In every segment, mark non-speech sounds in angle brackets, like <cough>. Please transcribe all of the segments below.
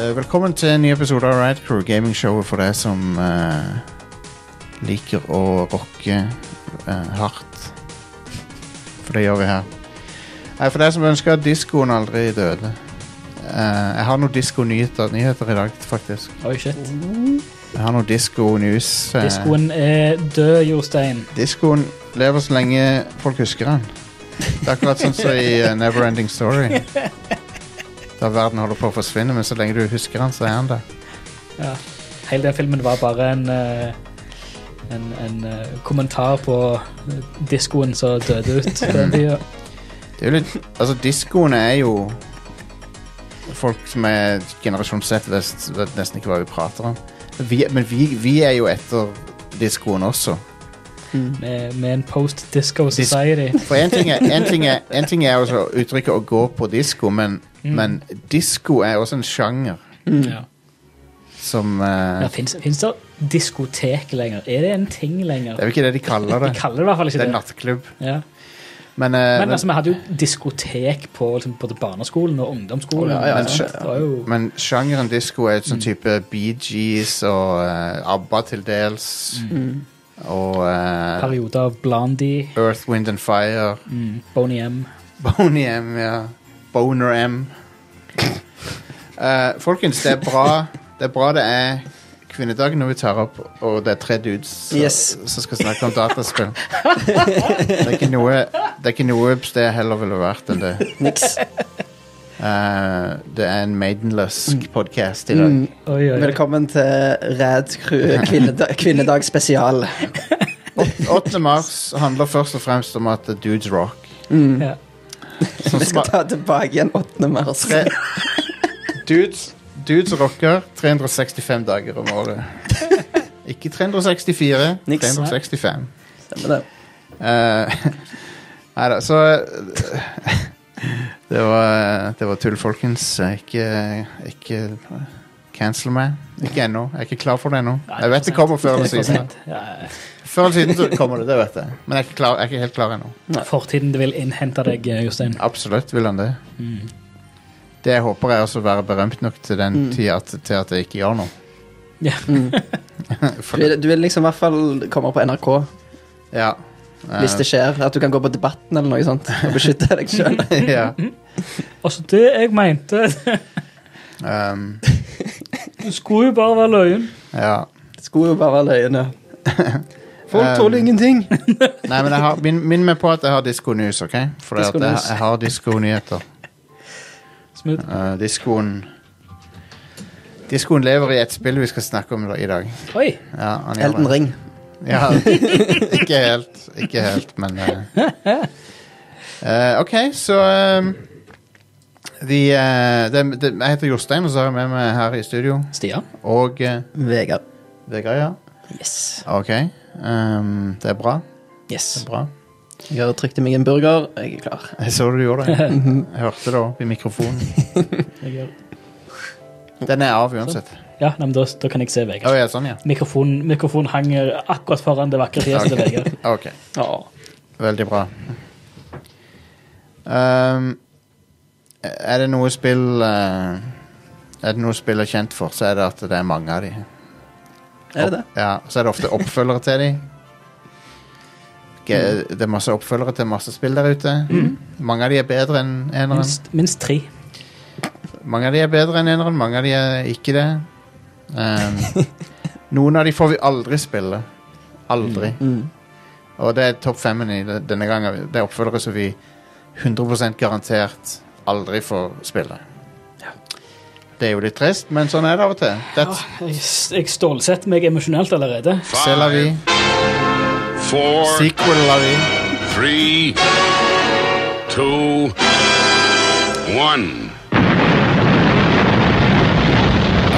Eh, velkommen til en ny episode av Rad Crew, gamingshowet for deg som eh, liker å rocke eh, hardt. For det gjør vi her. Nei, for deg som ønsker at diskoen aldri døde. Eh, jeg har noen disko-nyheter nyheter i dag, faktisk. Oi, shit. Jeg har noen disko-news. eh, Diskoen er død, Jostein. Diskoen lever så lenge folk husker den. Det er akkurat sånn som i eh, Neverending Story. Da verden holder på å forsvinne, men så lenge du husker den, så er den der. Ja. Hele den filmen var bare en, eh, en, en eh, kommentar på diskoen som <laughs> døde ut på den tida. Det er jo litt Altså, diskoene er jo Folk som er generasjon Z vet vet nesten ikke hva vi prater om. Vi, men vi, vi er jo etter diskoen også. Med, med en post-disco society. For én ting, er- en ting, er- en ting er også uttrykket 'å gå på disko', men, Mm. men disko er også en sjanger Ja. som eh, Ja, Fins det diskotek lenger? Er det en ting lenger? Det er jo ikke det de kaller De det. kaller det i hvert fall Det ikke er det. nattklubb. Ja. Men, eh, Men men, altså, vi hadde jo diskotek på liksom, både barneskolen og ungdomsskolen. Å, ja, ja, ikke sant? ja, Det var jo men sjangeren disko er et sånn Mm. type Bee Gees og eh, ABBA til dels. Mm. Og eh, perioder av Blondie, mm, Earth, Wind and Fire. Boney M. Boney M, ja. Boner M. Eh, folkens, det er bra det er bra det er kvinnedagen når vi tar opp, og det er tre dudes som- Yes. som skal snakke om dataspill. Det er ikke noe, det er ikke noe sted jeg heller ville vært enn det. <laughs> Niks. Eh, det er en maidenløsk podkast i Mm. dag. Oi, oi, oi. Velkommen til Ræd Crew kvinnedag, kvinnedag <laughs> spesial. 8. mars handler først og fremst om at dudes rock. Ja. Sånn Vi skal sma- ta tilbake igjen 8. mars. tre, dudes, dudes rocker 365 dager om året. Ikke 364, Niks. 365. Stemmer det. <laughs> Nei da, Eh, så eh, <laughs> det, var, det var tull, folkens. Ikke, ikke cancel meg. Ikke ennå. Jeg er ikke klar for det ennå. Nei, Jeg vet det kommer før eller siden. Ja, Før eller siden så kommer det, det vet jeg. Men jeg er ikke, klar, jeg er ikke helt klar ennå. Fortiden vil innhente deg, Jostein. Mm. Absolutt vil han det. Det jeg håper er også å være berømt nok til den tida at, til at jeg ikke gjør noe. Ja. Mm. Du vil, du vil liksom i hvert fall komme på NRK Ja. hvis det skjer. At du kan gå på Debatten eller noe sånt og beskytte deg sjøl. Eh, <laughs> ja. Altså, det jeg mente <laughs> Um, Du skulle jo bare være løyen. ja. Skulle jo bare være <laughs> løgne. Folk Um, tåler ingenting. Nei, men jeg har, minn, minn meg på at jeg har Disko News, OK? For det at jeg, Disko-news. jeg har disko-nyheter. Smooth. Uh, diskoen Diskoen lever i et spill vi skal snakke om i dag. Oi! Ja, han gjør Elden det. Ring. Ja, <laughs> ikke helt, ikke helt, men eh. Eh, Ok, så ehm, vi, eh, det, det, Jeg heter Jostein, og så har jeg med meg her i studio. Stian. Og eh, Vegard. Vegard, ja. Yes. Ok. ehm, det er bra. yes. Det er bra. Jeg har trykt i meg en burger. Jeg er klar. Jeg så du gjorde det. Jeg hørte det òg, i mikrofonen. Jeg er- Den er av uansett. Ja, nei, men da, da kan jeg se Å Vegard. ja, sånn, ja. Mikrofonen mikrofon hang akkurat foran det vakre fjeset til <laughs> Vegard. Ok. Åh. Veldig bra. Ehm, er det noe spill eh, Er det noe spill er kjent for, så er det at det er mange av de. Er det det? Ja, så er det ofte oppfølgere til de. Mm. Ge- Det er masse oppfølgere til masse spill der ute. Mange av de er bedre enn eneren. Minst, minst tre. Mange av de er bedre enn eneren, mange av de er ikke det. Ehm, noen av de får vi aldri spille. Aldri. Mm. Og det er topp femmen i det- denne gangen. Det er oppfølgere som vi 100 garantert aldri får spille. Det er jo litt trist, men sånn er det av og til. That's, Jeg, jeg stålsetter meg emosjonelt allerede. c'est la vie. four, Sequel la vie. three, two, one.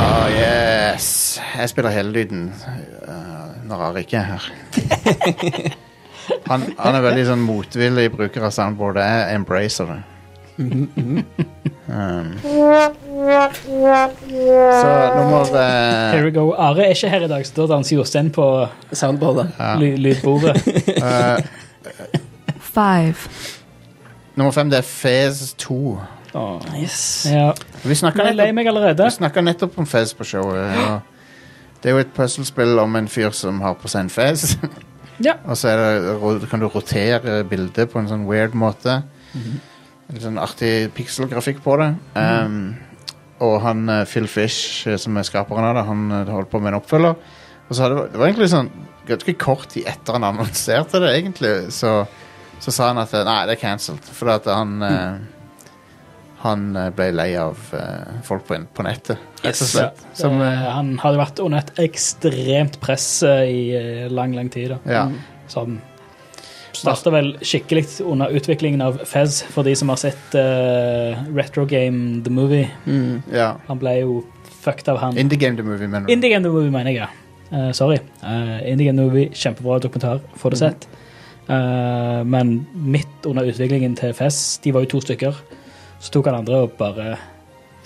Ah, yes. Jeg spiller hele lyden eh, når Ari ikke er her. Han, han er veldig sånn motvillig bruker av soundboard. Jeg embracer det. Um, så nummer eh, Here we go. Are er ikke her i dag, så da danser Jostein på Soundboardet. ly <laughs> lydbordet. eh, Five. Nummer fem det er Fez 2. Åh. Yes. Ja. Vi snakka Men jeg er lei nettopp, meg allerede. vi snakket nettopp om Fez på showet. Og det er jo et puslespill om en fyr som har på seg en Fez. <laughs> Ja. og så er det, ro- kan du rotere bildet på en sånn weird måte. Mhm. Litt sånn artig pikselgrafikk på det. Um, og han eh, Phil Fish, eh, som er skaperen av det, han eh, holdt på med en oppfølger. Og så hadde, det var egentlig sånn ganske kort tid etter han annonserte det, egentlig, så, så sa han at eh, nei, det er cancelled. Fordi at han eh, Han eh, ble lei av eh, folk på, in- på nettet, rett og Yes. slett. Som, Eh, han hadde vært under et ekstremt press eh, i eh, lang, lang tid. da. ja. Som starta vel skikkelig under utviklingen av Fez, for de som har sett eh, Retro Game The Movie. Mm. ja. Han ble jo fucked av han. Indie Game The Movie, mener du? Indie Game The Movie, mener jeg, ja. Eh, sorry. Eh, Indie Game The Movie, kjempebra dokumentar, får det sett. Eh, men midt under utviklingen til Fez, de var jo to stykker, så tok han andre og bare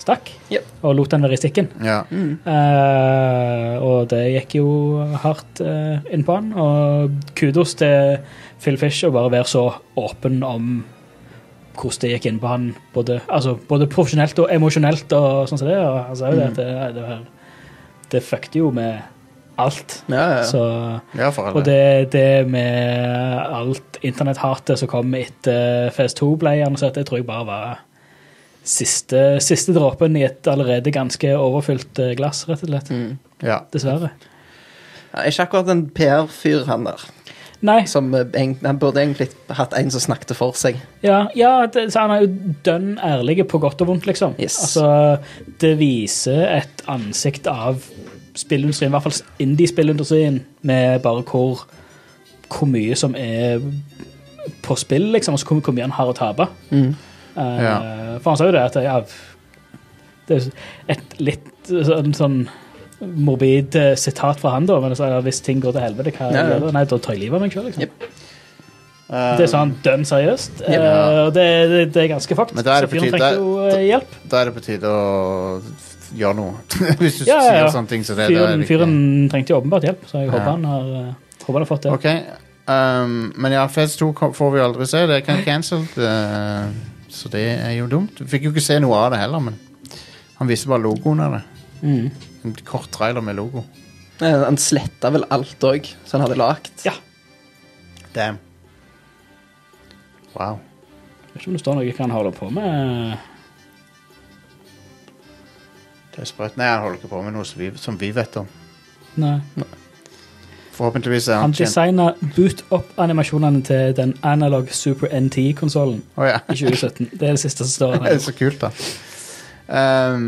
stakk. Yep. Og lot den være i stikken. Ja. Mm. Eh, og det gikk jo hardt eh, inn på han. Og kudos til Phil Fish å bare være så åpen om hvordan det gikk inn på han. Både, altså, både profesjonelt og emosjonelt. og sånn som det, og Han sa Mm. jo det at det, det, var, det fucket jo med alt. Ja, ja. ja. Så, ja, for og alle. det, det med alt internetthatet som kom etter FS2 ble annonsert, det tror jeg bare var siste, siste dråpen i et allerede ganske overfylt eh, glass, rett og slett. Mm. Ja. Dessverre. Ja, ikke akkurat en PR-fyr, han der. Nei, Som, eh, eng- han burde egentlig hatt en som snakket for seg. ja, ja det, så han er jo dønn ærlig på godt og vondt, liksom. Yes. Altså, det viser et ansikt av spillindustrien, i hvert fall indie-spillindustrien, med bare hvor, hvor mye som er på spill, liksom, og så hvor, hvor mye han har å tape. Eh, Ja. For han sa jo det at ja, det er et litt sånn, sånn morbid eh, sitat fra han, da, men så, er det, hvis ting går til helvete, hva Ja, ja. gjør du? Nei, da tar jeg livet av meg sjøl, liksom. Jep. Det Eh, er sånn dønn seriøst. Ja. eh, og det, det, det er ganske fucked. Men da er det så fyren på tide- trengte jo eh, hjelp. Da er det på tide å f- gjøre noe. <laughs> Hvis du Ja, ja, ja. sier sånne ting som det. da er Fyren, det viktig. fyren trengte jo åpenbart hjelp, så jeg Ja. håper han har, eh, håper han har fått det. Ok, ehm, men ja, Fez 2 kom- får vi aldri se. Det kan cancelled. eh, så det er jo dumt. Vi fikk jo ikke se noe av det heller, men han viste bare logoen av det. Mm. En kort trailer med logo. Eh, Han sletta vel alt òg, som han hadde lagd. Ja. Damn. Wow. Jeg vet ikke om det står noe hva han holder på med. Det er sprøtt. Nei, han holder ikke på med noe som vi, som vi vet om. Nei. Forhåpentligvis er han Han kjent. designa boot-up-animasjonene til den analog Super NT-konsollen Å ja. <laughs> i 2017. Det er det siste som står Det er her. så kult, da. Ehm,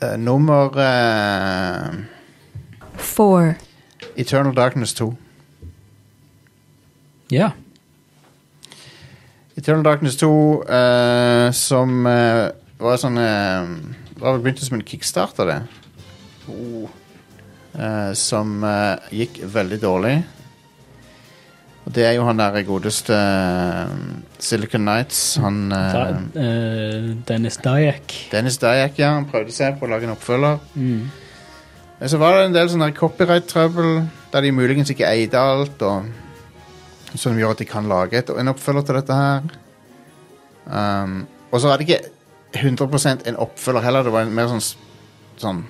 eh, nummer eh, four, Eternal Darkness 2. Ja. Eternal Darkness 2, eh, som eh, var sånn eh, Det var vel begynt som en kickstarter, det. Eh, som eh, gikk veldig dårlig. Og det er jo han der godeste eh, Silicon Nights. Han Da, eh, eh, Dennis Dyack. Dennis Dyack, ja. Han prøvde seg på å lage en oppfølger. Mm. Men så var det en del sånn her copyright-trøbbel, der de muligens ikke eide alt, og som gjør at de kan lage et, en oppfølger til dette her. Um, og så var det ikke 100 en oppfølger heller, det var en mer sånn, s- sånn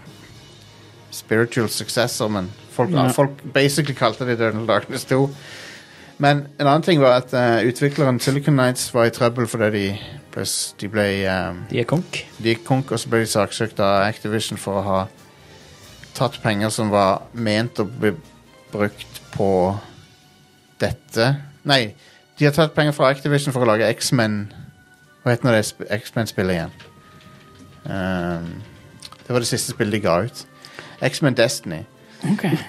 spiritual successor, men folk, Ja. folk basically kalte det Eternal Darkness 2. Men en annen ting var at eh, utvikleren Silicon Nights var i trøbbel fordi de ble, s- de ble um, De er konk. de gikk konk, og så ble de saksøkt av Activision for å ha tatt penger som var ment å bli brukt på dette. Nei, de har tatt penger fra Activision for å lage X-Men. Hva heter nå det sp- X-Men-spillet igjen? Ehm, det var det siste spillet de ga ut. X-Men Destiny.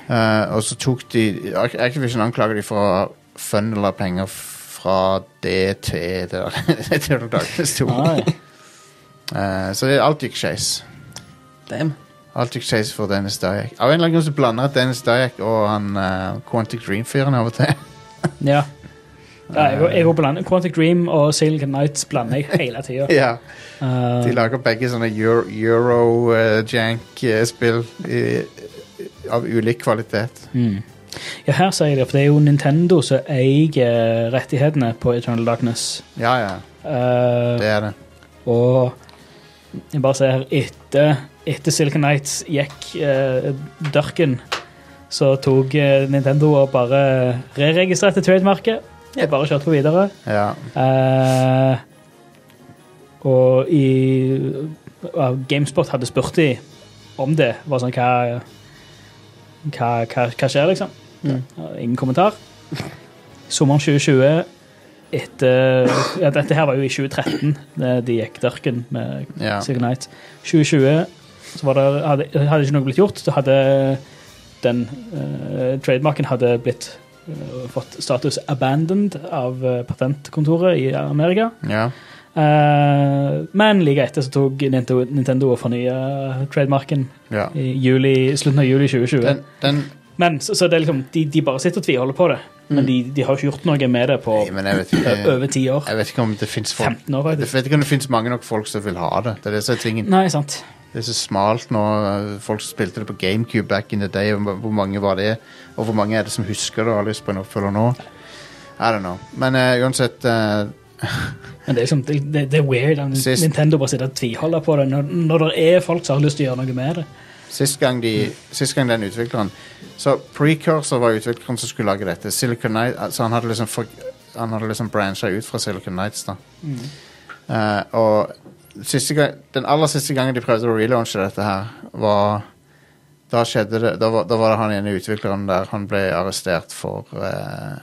Eh, og så tok de Ac- Activision anklager de for å ha funnela penger fra det til <laughs> det der. Eternal Darkness 2. Ah, ja. Eh, så det, alt gikk skeis. Damn. Alt gikk skeis for Dennis Dyack. Av en eller annen grunn så blander jeg Dennis Dyack og han eh, Quantic Dream-fyren av og til. <laughs> <laughs> Ja. Ja, jeg, jeg går blander Quantic Dream og Silicon Nights blander jeg hele tida. <laughs> ja, Uh, De lager begge sånne euro-jank-spill av ulik kvalitet. mm. Ja, her sier jeg det, for det er jo Nintendo eh, som eier rettighetene på Eternal Darkness. Ja, ja, Uh, det er det. Og jeg bare ser etter, etter Silicon Nights gikk eh, dørken, så tok eh, Nintendo og bare re-registrerte trademarket. Ja. Og bare kjørte på videre. Ja. Eh, og i ja, GameSpot hadde spurt de om det. Var sånn, hva, hva, hva, hva skjer, liksom? Mm. Ja, Ingen kommentar. Sommeren 2020 etter, ja, Dette her var jo i 2013, det- de gikk dørken med ja. Silicon Knight. 2020 så var det, hadde, hadde ikke noe blitt gjort. Så hadde den eh, trademarken hadde blitt eh, fått status abandoned av eh, patentkontoret i Amerika. ja. Eh, men like etter så tok Nintendo, Nintendo og fornya trademarken ja. i juli, slutten av juli 2020. Den, den men så, så det er liksom, de, de bare sitter og tviholder på det. Men de, de har ikke gjort noe med det på Mm. Nei, men jeg vet ø- ikke over ti år. Jeg vet ikke om det fins folk 15 år, Jeg faktisk. vet ikke om det finnes mange nok folk som vil ha det. Det er det som er tingen. Nei, sant. Det er så smalt nå. eh, Folk som spilte det på GameCube back in the day. Hvor hvor mange var det? Og hvor mange er det som husker det og har lyst på en oppfølger nå? I don't know. Men eh, uansett eh, Men det er, liksom, det, det, det er weird at Sist- Nintendo bare sitter og tviholder på det når, når det er folk som har lyst til å gjøre noe med det. Sist gang, de, sist gang den utvikleren Så Precursor var utvikleren som skulle lage dette. Silicon Knight, så han hadde liksom, for, han hadde liksom brancha ut fra Silicon Nights. da. Eh, og siste gang, den aller siste gangen de prøvde å relaunche dette her, var Da skjedde det Da var, da var det han ene utvikleren der han ble arrestert for eh,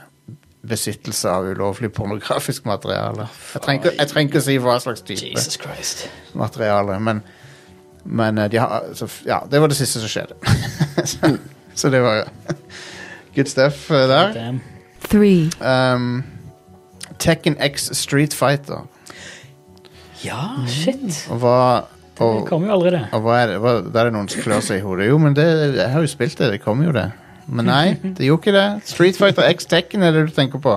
besittelse av ulovlig pornografisk materiale. Jeg trenger ikke- jeg trenger ikke å si hva slags type Jesus Christ. materiale. Men, men eh, de har, så, f- ja, det var det siste som skjedde. <laughs> så, så det var <laughs> good stuff eh, der. Damn. three, Um, Tekken X Street Fighter. Ja, shit. Og hva, Det og, kommer jo aldri, det. og hva er det? Hva, der er noen som klør seg i hodet. Jo, men det, jeg har jo spilt det. Det kom jo, det. Men nei, det gjorde ikke det. Street Fighter X Tekken er det du tenker på.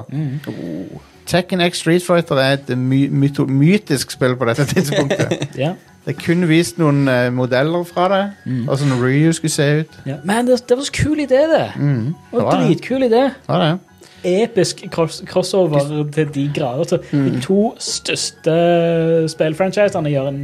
Tekken X Street Fighter er et my myto- mytisk spill på dette tidspunktet. Ja. Det er kun vist noen eh, modeller fra det, Mm. og sånn Ryu skulle se ut. Ja. Men det, det var så kul idé, det. Mm. Og Det var det. dritkul idé. Det var det. Episk cross crossover til de grader. Så Mm. De to største spillfranchisene gjør en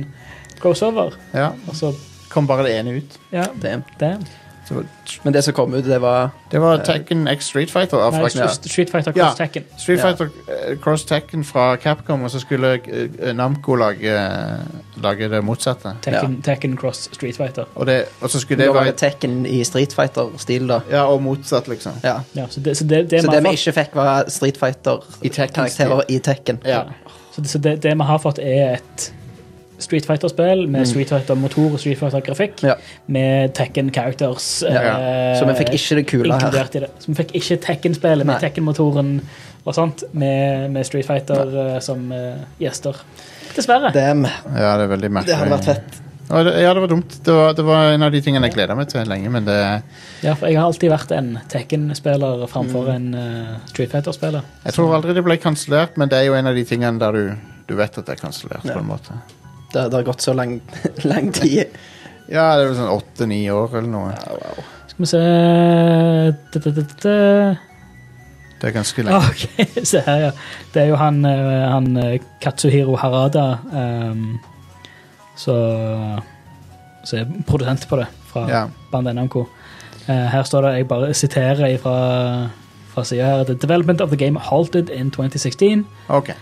crossover. Ja. Og så, Kom bare det ene ut. ja, Damn. damn. Så, Men det som kom ut, det var det var Tekken X Street Fighter. av- Nei, fra- Street- Street Fighter Ja. Cross Tekken. Street Ja. Fighter eh, Cross Tekken fra Capcom, og så skulle eh, Namco lage, eh, lage det motsatte. Tekken, Tekken Cross Street Fighter. Og, det, og så skulle Det det var være jo Tekken i Street Fighter-stil, da. Ja, og motsatt, liksom. Ja. Ja, så det, så det, det Så vi det har vi fått- ikke fikk, var Street I Tekken-stil. Fighter-karakterer i Tekken. Ja. Så, det, så det, det vi har fått, er et Street Fighter-spill med Street Fighter-motor og Street Fighter-grafikk. Mm. Ja. Med Tekken Characters. Ja. eh, Så vi fikk ikke det kule her. inkludert i det. Så vi fikk ikke Tekken-spillet med Nei. Tekken-motoren og sånt, med, med Street Fighter eh, som eh, gjester. Dessverre. <laughs> Damn. ja, det er veldig merkelig. Det hadde vært Eh. fett. Og det, ja, det var dumt. Det var, det var en av de tingene jeg gleda meg til lenge, men det Ja, for jeg har alltid vært en Tekken-spiller framfor Mm. en eh, Street Fighter-spiller. Jeg tror aldri det ble kansellert, men det er jo en av de tingene der du, du vet at det er kansellert. Ja. på en måte. Det, det har gått så lang, <laughs> lang tid. Ja, det er vel sånn åtte-ni år eller noe. Skal vi se eh, Da-da-da-da. Det er ganske lenge. Ah, Ok, <laughs> se her, ja. Det er jo han, eh, han eh, Katsuhiro Harada um, så, så er produsent på det fra Ja. bandet NMK. Eh, her står det, jeg bare siterer fra, fra sida her The development of the game halted in 2016 Ok. eh,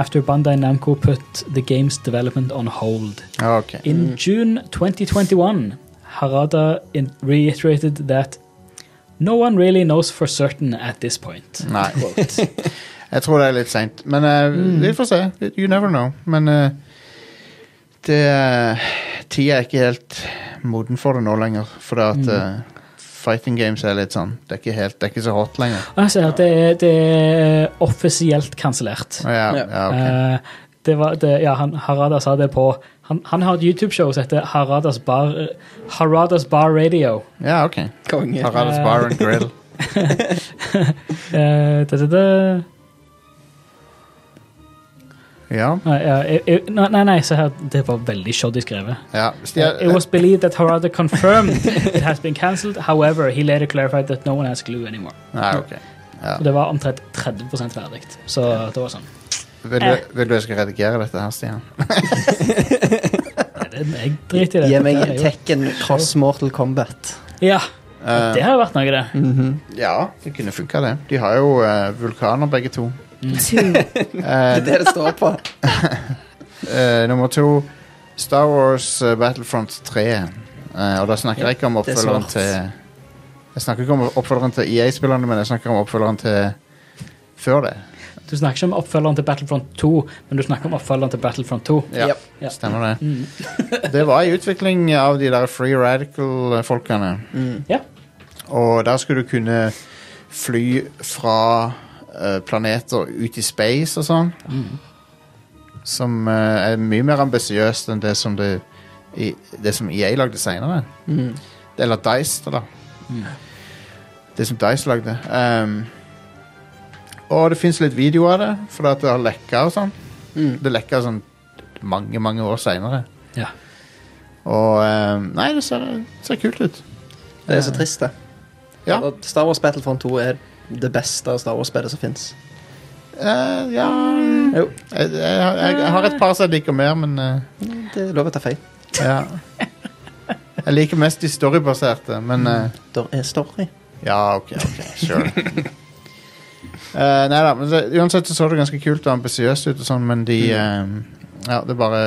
after Bandai Namco put the game's development on hold. Ja, ok. In June 2021, Harada in reiterated that no one really knows for certain at this point. Nei. Jeg tror det er litt seint, men eh, vi får se. You never know. Men eh, det uh, Tida er ikke helt moden for det nå lenger, fordi at eh, fighting games er litt sånn Det er ikke, helt, det er ikke så hot lenger. Jeg ser at Ah, det, er- det er offisielt kansellert. Å, Ja, Ja. ja, ok. Eh, det var, det, ja, han, Harada sa det på Han, han har et YouTube-show som heter Haradas Bar, Haradas Bar Radio. ja, ok. Konge. Haralds Bar and Grill. Eh, det, det, det. <laughs> Ja. Nei, ja, jeg- jeg- nei, nei, nei, se her. Det var veldig shoddy skrevet. Eh, ja. eh. Stia- It was believed that Harada confirmed it has been cancelled. However, he later clarified that no one has glue anymore. Eh. Nei, ok. Ja. Og det var omtrent 30 ferdig. Så det var sånn. Vil du, vil du jeg skal redigere dette her, Stian? Nei, det- Jeg driter i det. Gi meg Det er jo- Tekken cross Mortal Kombat. Ja, Eh, det har vært noe, det. Mhm. ja, det kunne funka, det. De har jo eh, vulkaner, begge to. 2. Eh, Det er det det står på. eh, nummer to Star Wars eh, Battlefront 3. Eh, og da snakker jeg ikke om det er oppfølgeren svart. til Jeg snakker ikke om oppfølgeren til EA-spillerne, men jeg snakker om oppfølgeren til før det. Du snakker ikke om oppfølgeren til Battlefront 2, men du snakker om oppfølgeren til Battlefront 2. <laughs> Ja, Yep. Ja. Mm. Stemmer det. Det var i utvikling av de der Free Radical-folkene. Mm. Ja. Og der skulle du kunne fly fra eh, planeter ut i space og sånn. Som eh, er mye mer ambisiøst enn det som, det, i, det som EA lagde seinere. Mhm. Eller Dice, da. Det som Dice lagde. Ehm, og det fins litt video av det, fordi at det har lekka og sånn. Mm. Det lekka sånn mange, mange år seinere. Ja. Og ehm, Nei, det ser, ser kult ut. Det er så trist, det. Ja. Og Star Wars Battlefront 2 er det beste av Star Wars-spillet som fins. Eh, ja Jo. Jeg, jeg, jeg, jeg har et par som jeg liker mer, men eh, Det er lov å ta feil. ja. Jeg liker mest de storybaserte, men eh, Der er story. Ja, ok, ok, sure. <laughs> Eh, nei da, men det, uansett så så det ganske kult og ambisiøst ut og sånn, men de eh, Ja, det er bare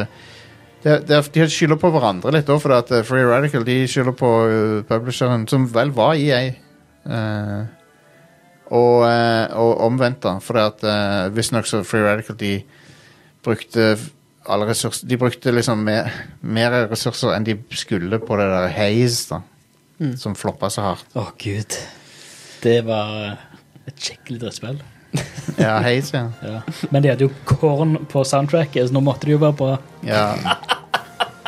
det, det, er- De skylder på hverandre litt òg, for at eh, Free Radical de skylder på eh, publisheren, som vel var EA. eh, og, eh, og omvendt, da. For at uh, visstnok så Free Radical de brukte f- alle ressurser De brukte liksom mer, mer ressurser enn de skulle på det der Haze, da. Som floppa så hardt. Å, gud. Det var eh, et skikkelig drittspill. Ja, Haze, ja. Ja. Men de hadde jo korn på soundtracket, så nå måtte det jo være bra. Ja.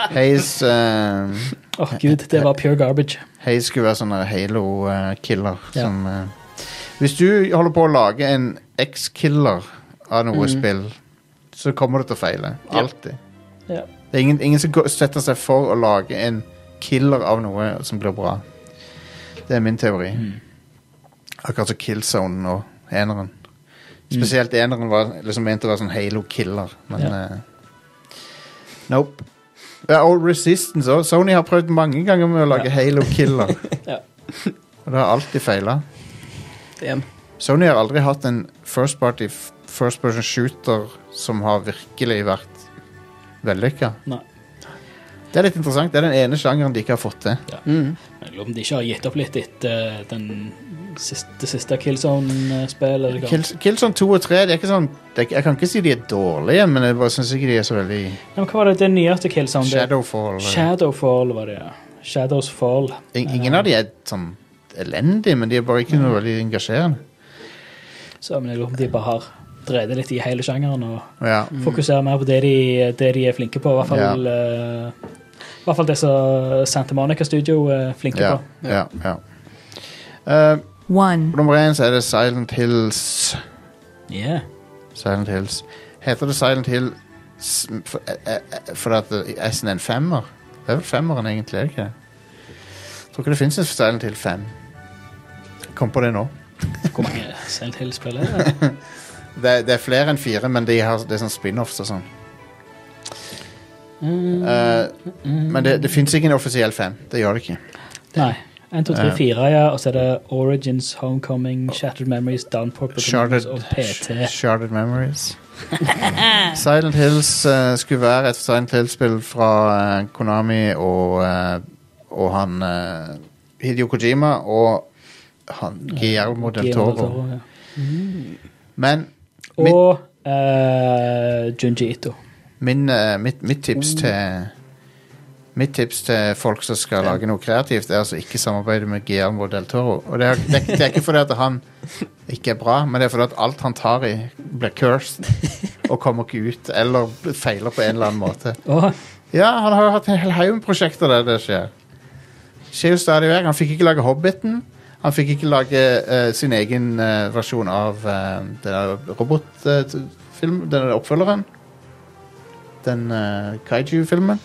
Haze eh, Å, gud, det var pure garbage. Haze skulle være sånn halo-killer. Ja. som eh, Hvis du holder på å lage en X-killer av noe spill, så kommer det til å feile. Alltid. Ja. Det er ingen, ingen som går, setter seg for å lage en killer av noe som blir bra. Det er min teori. Mm. Akkurat som Killzone og eneren. Mm. Spesielt eneren var liksom ment å være sånn Halo-killer, men Ja. eh, Nope. Ja, og Resistance òg. Sony har prøvd mange ganger med å lage Halo-killer. <laughs> Ja. Og det har alltid feila. Damn. Sony har aldri hatt en first party f- first person shooter som har virkelig vært vellykka. Nei. Det er litt interessant. Det er den ene sjangeren de ikke har fått til. Mm. Jeg lurer om de ikke har gitt opp litt etter eh, den siste, det siste Killzone-spillet. eller hva? Kills, Killzone 2 og 3 det er ikke sånn, det er, ikke- Jeg kan ikke si de er dårlige, men jeg bare syns ikke de er så veldig Ja, men Hva var det det nyeste Killzone? det- Shadowfall. Shadowfall var det, ja. Shadows Fall. In, ingen av de er sånn elendige, men de er bare ikke Mm. noe veldig engasjerende. Så men jeg lurer på om de bare har drevet litt i hele sjangeren og Ja. fokuserer mer på det de, det de er flinke på. I hvert fall, eh, i hvert fall det som Santa Monica Studio er flinke Ja, på. ja, ja. Eh, 1. på nummer én så er det Silent Hills. Yeah. Silent Hills. Heter det Silent Hill s- for, eh, eh, for at det- S-en er en femmer? Det er vel femmeren egentlig, er det ikke det? Jeg tror ikke det finnes en Silent Hill 5. Kom på det nå. Hvor mange Silent Hill-spill er det? Det, det er flere enn fire, men de har, det er sånn spin-offs og sånn. Eh, men det, det fins ikke en offisiell fem. Det gjør det ikke. Nei. 1, 2, 3, 4, ja. Og så er det Origins, Homecoming, Shattered Memories, Downport Beginnings Sharded, og PT. Sharded Memories. Silent Hills eh, skulle være et Silent Hill-spill fra eh, Konami og, eh, og han eh, Hideo Kojima og han Guillermo del Guillermo Toro. ja. Men mitt, Og eh, Junji Ito. min, eh, mitt, mitt tips til Mitt tips til folk som skal lage noe kreativt, er altså ikke samarbeide med Guillermo del Toro. Og det er, det er- det er ikke fordi at han ikke er bra, men det er fordi at alt han tar i, blir cursed og kommer ikke ut, eller feiler på en eller annen måte. Å, Ja, han har jo hatt en hel haug med prosjekter der det skjer. Skjer jo stadig vekk. Han fikk ikke lage Hobbiten. Han fikk ikke lage eh, sin egen eh, versjon av uh, den robotfilmen, den oppfølgeren. Den eh, kaiju-filmen.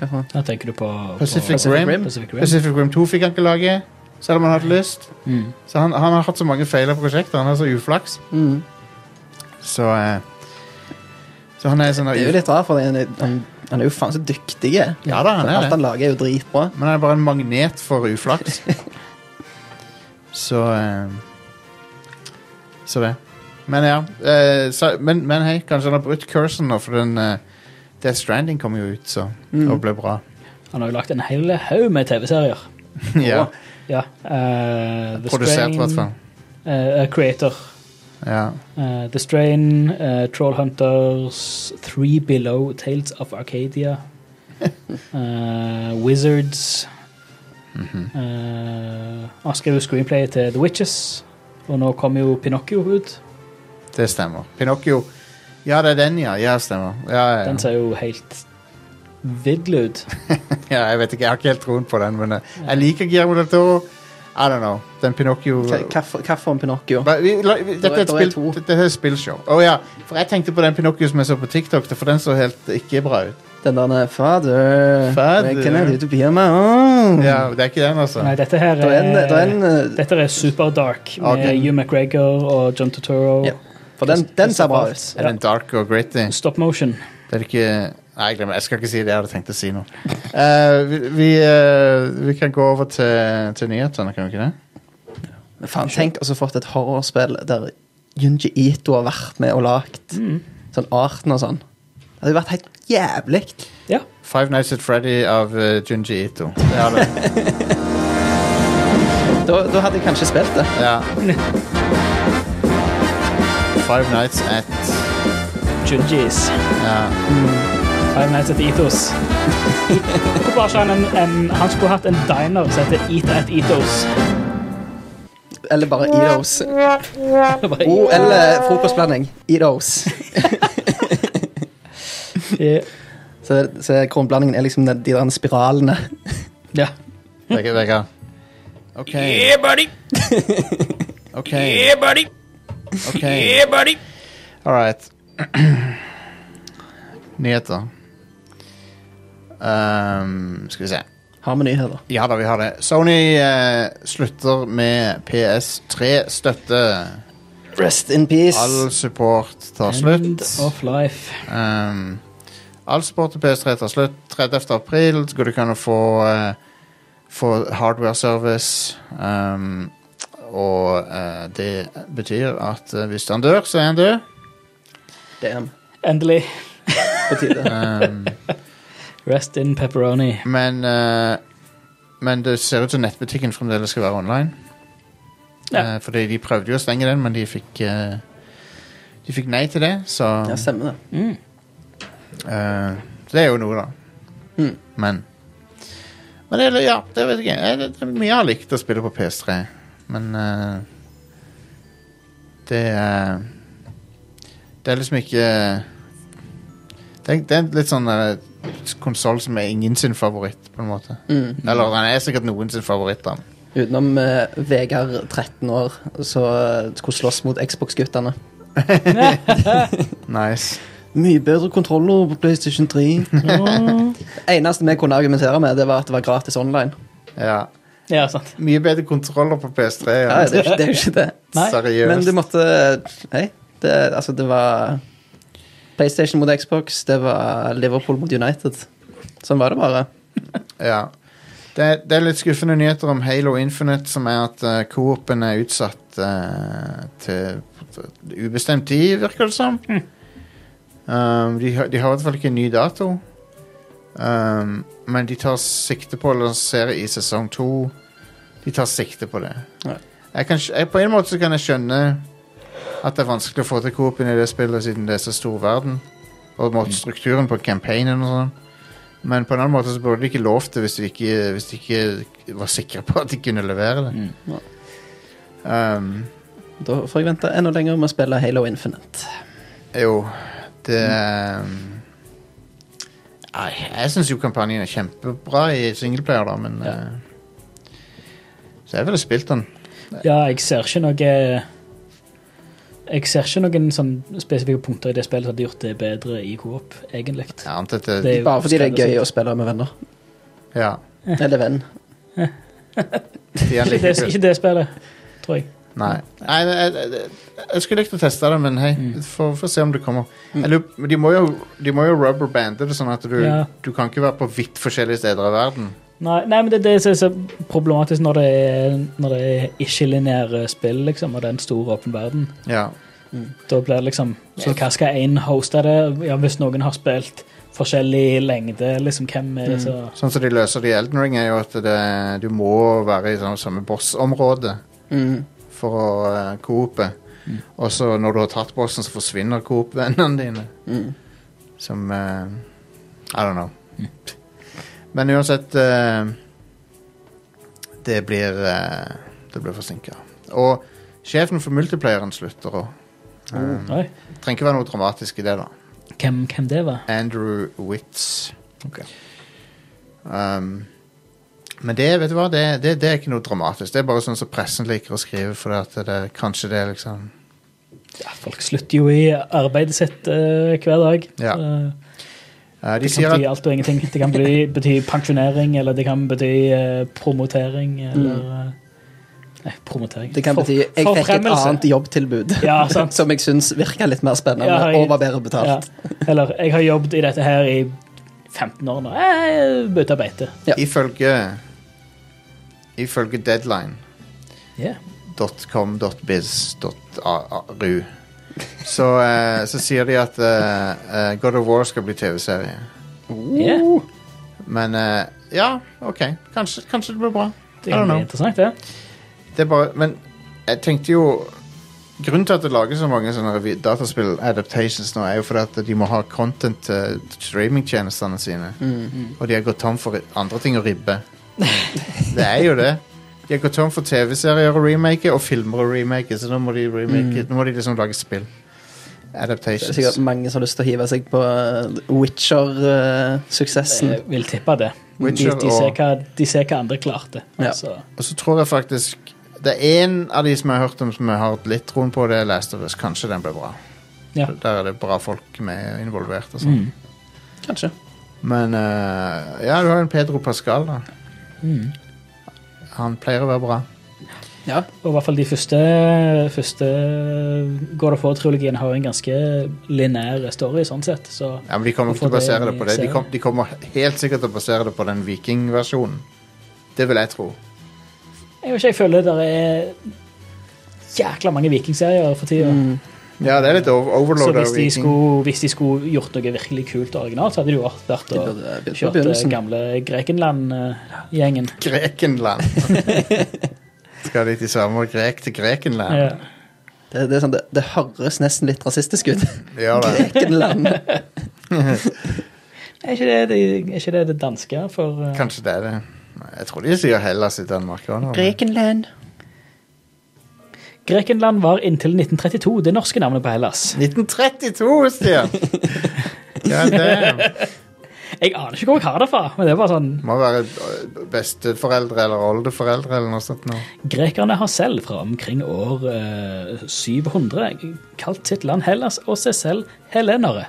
Jaha. da tenker du på på- Pacific, Pacific Rim. Rim. Pacific Rim. Pacific Rim 2 fikk han ikke lage, selv om han hadde lyst. Mm. Så han, han har hatt så mange feil av prosjekter. Han har så uflaks. Mm. Så eh, Så han er sånn Det er jo litt rart, for han, er- han, han er jo faen så dyktig. Ja da, han er det. Alt han lager, er jo dritbra. Men han er bare en magnet for <laughs> uflaks. så eh, Så det. Men ja. eh, så, men, men hei, kanskje han har brutt cursen nå, for den eh, Death Stranding kom jo ut så, Mm. og ble bra. Han har jo lagt en hel haug med TV-serier. ja, <laughs> Ja. eh, The Produsert, i hvert fall. eh, eh, creator. Ja. eh, The Strain, eh, Trollhunters, Three Below, Tales of <laughs> Arcadia, eh, Wizards Mhm. eh, Han skrev jo screenplay til The Witches, og nå kommer jo Pinocchio ut. Det stemmer. Pinocchio. Ja, det er den, ja. Ja, stemmer. Ja, ja, Den ja. ser jo helt vill ut. ja, jeg vet ikke, jeg har ikke helt troen på den, men eh, jeg liker Guillermo del Toro. I don't know. Den Pinocchio Hva- hva for- Hva for en Pinocchio? Ba- vi, la, vi, dette, er et Da er spill, jeg to. dette er et spillshow. Å ja, for jeg tenkte på den Pinocchio som jeg så på TikTok, for den så helt ikke bra ut. Den der eh, Father, Father. where can I do to be on my own? Ja, Det er ikke den, altså. Nei, dette her Det er en, det er en eh, Dette er super dark med Ok. Hugh McGregor og John Turturro. Ja. For den, den ser bra ut. Er den dark og gritty? Stop motion. Det er ikke Nei, jeg glemmer Jeg skal ikke si det jeg hadde tenkt å si nå. <laughs> Eh, vi, vi, eh, vi kan gå over til, til nyhetene, kan vi ikke det? Men faen, tenk også fått et horrorspill der Junji Ito har vært med og lagt sånn arten og sånn. Det hadde jo vært helt jævlig. Ja. Five Nights at Freddy av eh, Junji Ito. Det er det. Da, da hadde jeg kanskje spilt det. Ja. Five Nights at Junjis. ja. Five Nights at <laughs> Ethos. Hvorfor har ikke han en, en Han skulle hatt en diner som heter Eat at Ethos. Eller bare Eatos. Oh, eller frokostblanding. Eatos. Så, så kronblandingen er liksom de de der spiralene. Ja. Vegard, Vegard. OK. Yeah, buddy. OK. Yeah, buddy. ok Yeah, buddy. All right. <clears throat> Nyheter. Ehm, skal vi se. Har vi nyheter? Ja da, vi har det. Sony eh, slutter med PS3-støtte. Rest in peace. All support tar End slutt. of life. Ehm, all support til PS3 tar slutt. 30. april så går det ikke an å få, eh, få hardware service. Ehm, og eh, det betyr at eh, hvis han dør, så er han død. Damn. Endelig. På tide. Ehm, Rest in pepperoni. Men eh, Men det ser ut som nettbutikken fremdeles skal være online. Ja. Eh, fordi de prøvde jo å stenge den, men de fikk eh, De fikk nei til det, så Ja, stemmer det. Mm. eh, Det er jo noe, da. Mm. Men Men det, er- ja, det vet jeg ikke. Det, det er mye jeg har likt å spille på PS3, men eh, Det er Det er liksom ikke det er, det er litt sånn uh, konsoll som er ingen sin favoritt, på en måte. Mm. Eller han er sikkert noen sin favoritt, da. Utenom eh, Vegard, 13 år, så eh, skulle slåss mot Xbox-guttene. Nice. Mye bedre kontroller på PlayStation <laughs> 3. Det eneste vi kunne argumentere med, det var at det var gratis online. Ja. Ja, sant. Mye bedre kontroller på PS3. Ja. Ja, det, er jo ikke, det er jo ikke <laughs> det. Nei, Seriøst. Men du måtte Nei, det, altså, det var PlayStation mot Xbox, det var Liverpool mot United. Sånn var det bare. ja. det, det er litt skuffende nyheter om Halo Infinite, som er at uh, Coop-en er utsatt eh, til til ubestemt tid, virker det som. Um, de, har- de har i hvert fall ikke en ny dato. Um, men de tar sikte på å lansere i sesong to. De tar sikte på det. Ja. Jeg kan, skj- jeg, på en måte så kan jeg skjønne at det er vanskelig å få til Coop inn i det spillet, siden det er så stor verden. Og måte strukturen på campaignen og sånn. Men på en annen måte så burde de ikke lovt det hvis de ikke, hvis de ikke var sikre på at de kunne levere det. Mm. Um, Da får jeg vente enda lenger med å spille Halo Infinite. Jo, det um, Nei, jeg syns jo kampanjen er kjempebra i singleplayer, da, men eh, Så jeg ville spilt den. Ja, jeg ser ikke noe Jeg ser ikke noen sånn spesifikke punkter i det spillet som hadde gjort det bedre i Coop, egentlig. Jeg antar at det, Det er jo Eh, Bare fordi det er skreddersydd. gøy å spille med venner. Ja. Eller venn. De er Ikke like det, kul. <laughs> ikke Mm. det spillet, tror jeg. Nei. Nei jeg, jeg, jeg skulle likt å teste det, men hei, få få se om det kommer. Mm. Jeg lurer- men de må jo, de må jo rubberbande det, sånn at du, Ja. du kan ikke være på vidt forskjellige steder i verden. Nei, nei, men det, det er så så problematisk når det er, når det er ikke-linære spill, liksom, og det er en stor åpen verden. Ja. Da blir det liksom Så hva skal én hoste det? Ja, hvis noen har spilt forskjellig lengde, liksom, hvem er det så Sånn som de løser det i Elden Ring, er jo at det, du må være i sånn, samme bossområde Mm. for å uh, coope. Og så når du har tatt bossen, så forsvinner coop-vennene dine. Mm. Som eh, I don't know. Men uansett eh, Det blir eh, Det blir forsinka. Og sjefen for multiplayeren slutter òg. Mm. Oi, Trenger ikke være noe dramatisk i det, da. hvem, hvem det var? Andrew Witz. Ok. Um, men det, vet du hva, det, det, det er ikke noe dramatisk. Det er bare sånn som pressen liker å skrive. For at det, kanskje det er liksom Ja, folk slutter jo i arbeidet sitt eh, hver dag. Ja. Eh, Eh, De det kan sier at bety alt og ingenting. Det <laughs> kan bety, bety pensjonering, eller det kan bety eh, promotering, eller Mm. eh, Nei, promotering. Det kan bety For- jeg fikk et forfremmelse. annet jobbtilbud Ja, sant. <laughs> som jeg syns virka litt mer spennende Ja, jeg- og var bedre betalt. Ja. Eller jeg har jobbet i dette her i 15 år nå. Eh, Jeg bytta beite. Ja. ifølge Ifølge Ja. deadline.com.biz.ru så, eh, så sier de at eh, eh, God of War skal bli TV-serie. Uh, Ja. Men eh, ja, OK. Kanskje, kanskje det blir bra. Det kan I don't bli know. interessant, det. det er bare, men jeg tenkte jo Grunnen til at det lages så mange sånne revi- dataspill-adaptations nå, er jo fordi at de må ha content til streamingtjenestene sine. Mm, Og de har gått tom for andre ting å ribbe. <laughs> det er jo det. De har gått tom for TV-serier å remake og filmer å remake, så nå må de remake, nå må de liksom lage spill. Mm. Det Adaptations. er sikkert mange som har lyst til å hive seg på eh, Witcher-suksessen. Jeg Eh, vil tippe det. Witcher de, de, ser og- hva, de ser hva andre klarte. Ja. Altså, Og så tror jeg faktisk Det er én av de som jeg har hørt om som jeg har hatt litt troen på, det er Last of Us. Kanskje den blir bra. Ja. Der er det bra folk med involvert og sånn. mm. Kanskje. Men eh, ja, du har jo en Pedro Pascal, da. Mm. Han pleier å være bra. Ja. Og i hvert fall de første, første God of War-trilogien har en ganske lineær story, sånn sett. Så Ja, Men de kommer ikke til å Hvorfor det basere er det på det. De, serien? kom, de kommer helt sikkert til å basere det på den vikingversjonen. Det vil jeg tro. jeg, vet ikke, jeg føler det er jækla mange vikingserier for tida. Mm. Ja, det er litt over Så Mm. overload av hvis de, viking. skulle, hvis de skulle gjort noe virkelig kult og originalt, så hadde det jo vært- vært De å burde begynt på kjøre begynnelsen. gamle Grekenland-gjengen. <laughs> Grekenland. Skal de til samme grek til Grekenland? Ja. Det, det, er sånn, det, det høres nesten litt rasistisk <laughs> ut. Ja, det. Grekenland. Er, ikke det, det, er ikke det det danske for eh, Kanskje det er det. Jeg tror de sier Hellas i Danmark òg nå. men- <laughs> Grekenland. Grekenland var inntil 1932 det norske navnet på Hellas. 1932, Stian! <laughs> Ja, det Jeg aner ikke hvor jeg har det fra, men det er bare sånn må være øh, besteforeldre eller oldeforeldre eller noe sånt. nå. Grekerne har selv fra omkring år eh, 700 kalt sitt land Hellas og seg selv helenere.